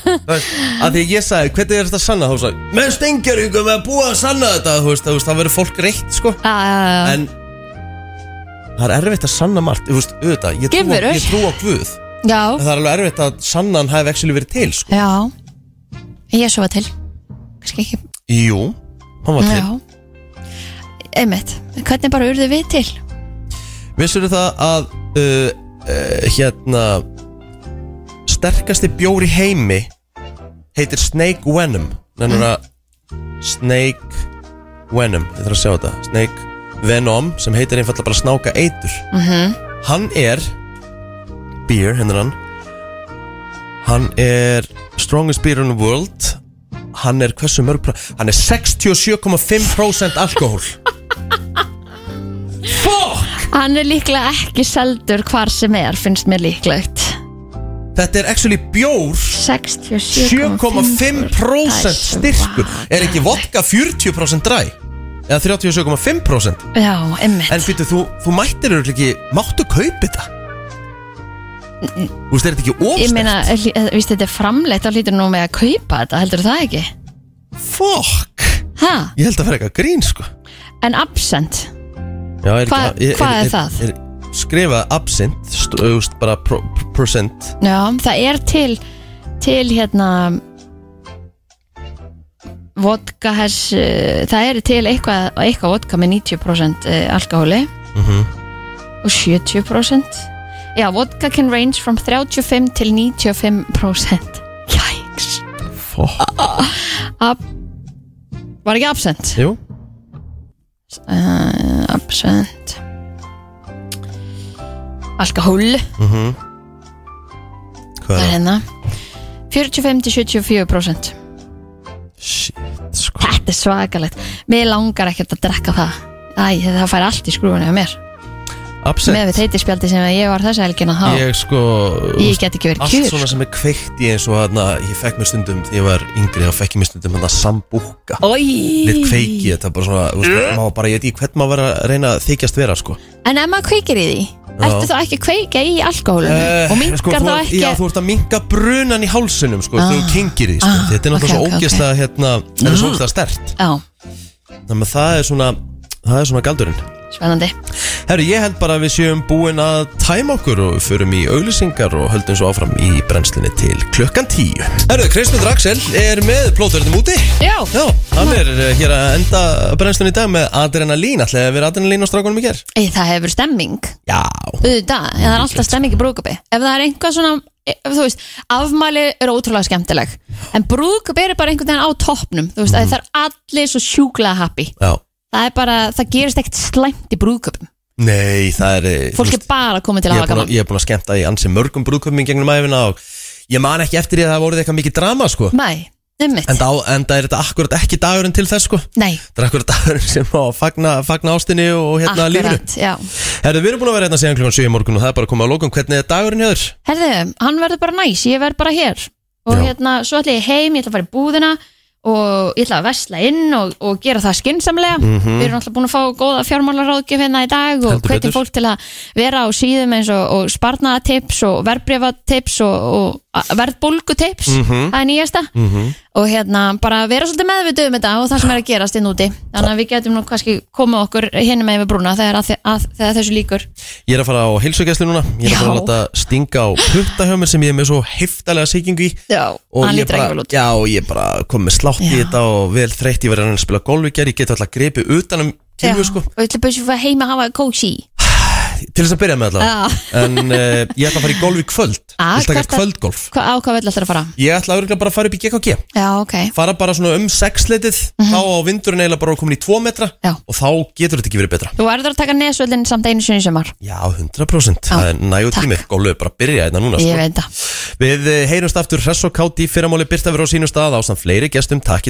C: Þú veist, Af því ég sagði, hvernig er þetta að sanna? Þú veist, með stengjaringum með að búa að sanna þetta Þú veist, þú veist, það verður fólk reitt, sko
D: uh,
C: En það er erfitt að sanna margt Þú veist, auðvitað, ég trú, á,
D: Geimverur.
C: ég trú á Guð
D: Já,
C: En það er alveg erfitt að sanna hann hafi ekki verið til, sko
D: já Ég sofa til Kannski ekki
C: Jú, hann var til
D: Já. Einmitt, hvernig bara urðu við til?
C: Vissur það að uh, uh, hérna sterkasti bjór í heimi heitir Snake Venom þannig að Snake Venom, ég þarf að sjá þetta Snake Venom sem heitir einfallega bara snáka eitur
B: Mhm.
C: hann er beer, hennar hann hann er strongest beer in the world hann er hversu mörg pró- hann er 67,5% alkohól
D: Hann er líklega ekki seldur hvar sem er, finnst mér líklegt
C: þetta er actually bjór 7,5% styrkur Er ekki vodka 40% dræ? Eða 37,5%?
D: Já, einmitt
C: En fyrir þú, þú mættir eru ekki Máttu kaupi þetta? Þú veist, er þetta ekki
D: Ég
C: ofst?
D: meina, hlý- eh, víst þetta er framleitt á hlýtur nú með að kaupa þetta, heldur það ekki?
C: Fuck
D: Ha,
C: Ég held að vera eitthvað grín, sko
D: en absent
C: Já, er
D: Hva-
C: ekki,
D: hvað er það?
C: Er, er, skrifa absint, stu, þú veist, bara pro, pro- percent
D: Já, það er til til hérna vodka hess eh, það er til eitthvað, eitthvað vodka með 90% eh, alkohóli og 70% Já, vodka can range from 35 til 95% Jæks Ab Ah, Var ekki absent?
C: Jú
D: uh, Absent Alkohól
C: Mhm. Hvað
D: Það er
C: er það?
D: hérna 45-74%
C: Shit,
D: sko Þetta er svakalegt Mér langar ekkert að drekka það Æ, það fær allt í skrúfunni á mér
C: Absent
D: Með við teitispjaldi sem ég var þessa helgina þá
C: Ég sko
D: Ég get ekki verið kjur.
C: Allt svona sem er kveikt í eins og þarna Ég fekk mér stundum þegar ég var yngri Þá fekk ég mér stundum þarna sambúka
D: Oj.
C: Litt kveiki þetta bara svona þú veist, Má bara ég veit í hvern maður var að reyna að þykjast vera sko
D: En ef maður kveikir í því Ertu þá ekki að kveika í alkohólinu
C: Eh,
D: Og mingar
C: sko, þú-
D: þá ekki
C: Já, þú ert að minga brunan í hálsinum sko
D: Ah.
C: Þegar þú kengir í sko
D: Ah,
C: Þetta er
D: ok,
C: náttúrulega
D: ok,
C: svo
D: ok.
C: ógæsta hérna Það er svo
D: Mm.
C: ógæsta stert
D: Já,
C: Þannig að það er svona Það er svona galdurinn
D: spennandi
C: Herru, ég held bara að við séum búin að tæma okkur og förum í auglýsingar og höldum svo áfram í brennslinni til klukkan tíu. Herru, Kristján Draxel er með plóturðum úti.
D: Já.
C: Já, hann er eh, hér að enda brennslinni í dag með adrenalín. Ætlaði að vera adrenalín á strákunum í ger?
D: Ei, það hefur stemming
C: Já.
D: Auðvitað, en það er alltaf stemming í brúðköpi Ef það er einhvað svona, ef, þú veist Afmæli er ótrúlega skemmtileg En brúðköpi er bara einhvern veginn á toppnum Þú veist, mm. það er allir svo sjúklega happy
C: Mhm. Já.
D: Það er bara, það gerist ekkert slæmt í brúðköpum
C: Nei, það er... eh,
D: Fólk
C: þú
D: er bara komið til að
C: ég er
D: hafa
C: búin
D: gaman
C: Ég er búin að skemmta í ansi mörgum brúðköpum í gegnum æfina og ég man ekki eftir því að það voruð eitthvað mikið drama, sko.
D: Nei, einmitt,
C: Enda, á- enda er þetta akkurat ekki dagurinn til þess, sko.
D: nei,
C: Þetta er akkurat (laughs) dagurinn sem á að fagna, fagna ástinni og hérna lífinu.
D: akkurat Já
C: Herðu, við erum búin að vera hérna síðan klukkan 7 í morgun og það er bara að koma að lókum. Hvernig er dagurinn hjá þér?
D: Herðu, hann verður bara næs, ég verð bara hér og
C: Já.
D: hérna, svo ætla ég heim, ég ætla að fara í búðina og ég ætla að vesla inn og, og gera það skynnsamlega
L: Mhm.
D: við erum alltaf búin að fá góða fjármálaráðgjöf hérna í dag og
L: Heldur
D: hvetjum
L: betur.
D: fólk til að vera á síðum eins og, og sparnaðatips og verbreyfatips og, og verðbólgu tips
L: Mhm.
D: það er nýjasta og hérna bara vera svolítið meðvitið um þetta og það sem er að gerast inn úti þannig að við getum nú kannski komið okkur hinum með við brúna þegar, að, að, þegar þessu líkur
C: Ég er að fara á heilsugæslu núna Ég er að fara að
D: Já.
C: láta stinga á putta hjá mér sem ég er með svo heftalega sýkingu í
D: Já,
C: og
D: hann
C: ég
D: lítur ekki
C: bara,
D: vel út
C: já, og ég bara kom með slátt í þetta og vel þreytt ég var að reyna að spila golf í gær, ég get alltaf grepið utan um
D: Já,
C: kynlu sko,
D: og við ætlum bara að fara heima að hafa kósi
C: til þess að byrja með allavega
D: Já.
C: (laughs) en uh, ég ætla að fara í golf í kvöld
D: Ah,
C: ég ætla að
D: hvert að-
C: taka kvöldgolf
D: Hva, á hvað vill alltaf að fara?
C: ég ætla að bara að fara upp í GKG
D: Já, ok
C: fara bara svona um sexleitið þá á vindurinn eiginlega bara komin í 2 metra
D: Mhm. Já.
C: og þá getur þetta ekki verið betra
D: Þú verður að taka nesvöldin samt einu sinni í sumar
C: Já, 100% Það er nægur tími Gólu er bara að byrja hérna núna
D: Ég veit það
C: Við eh, heyrumst aftur hress og kátt í fyrramáli Byrta verið á sínum stað ásamt fleiri gestum Takk í dag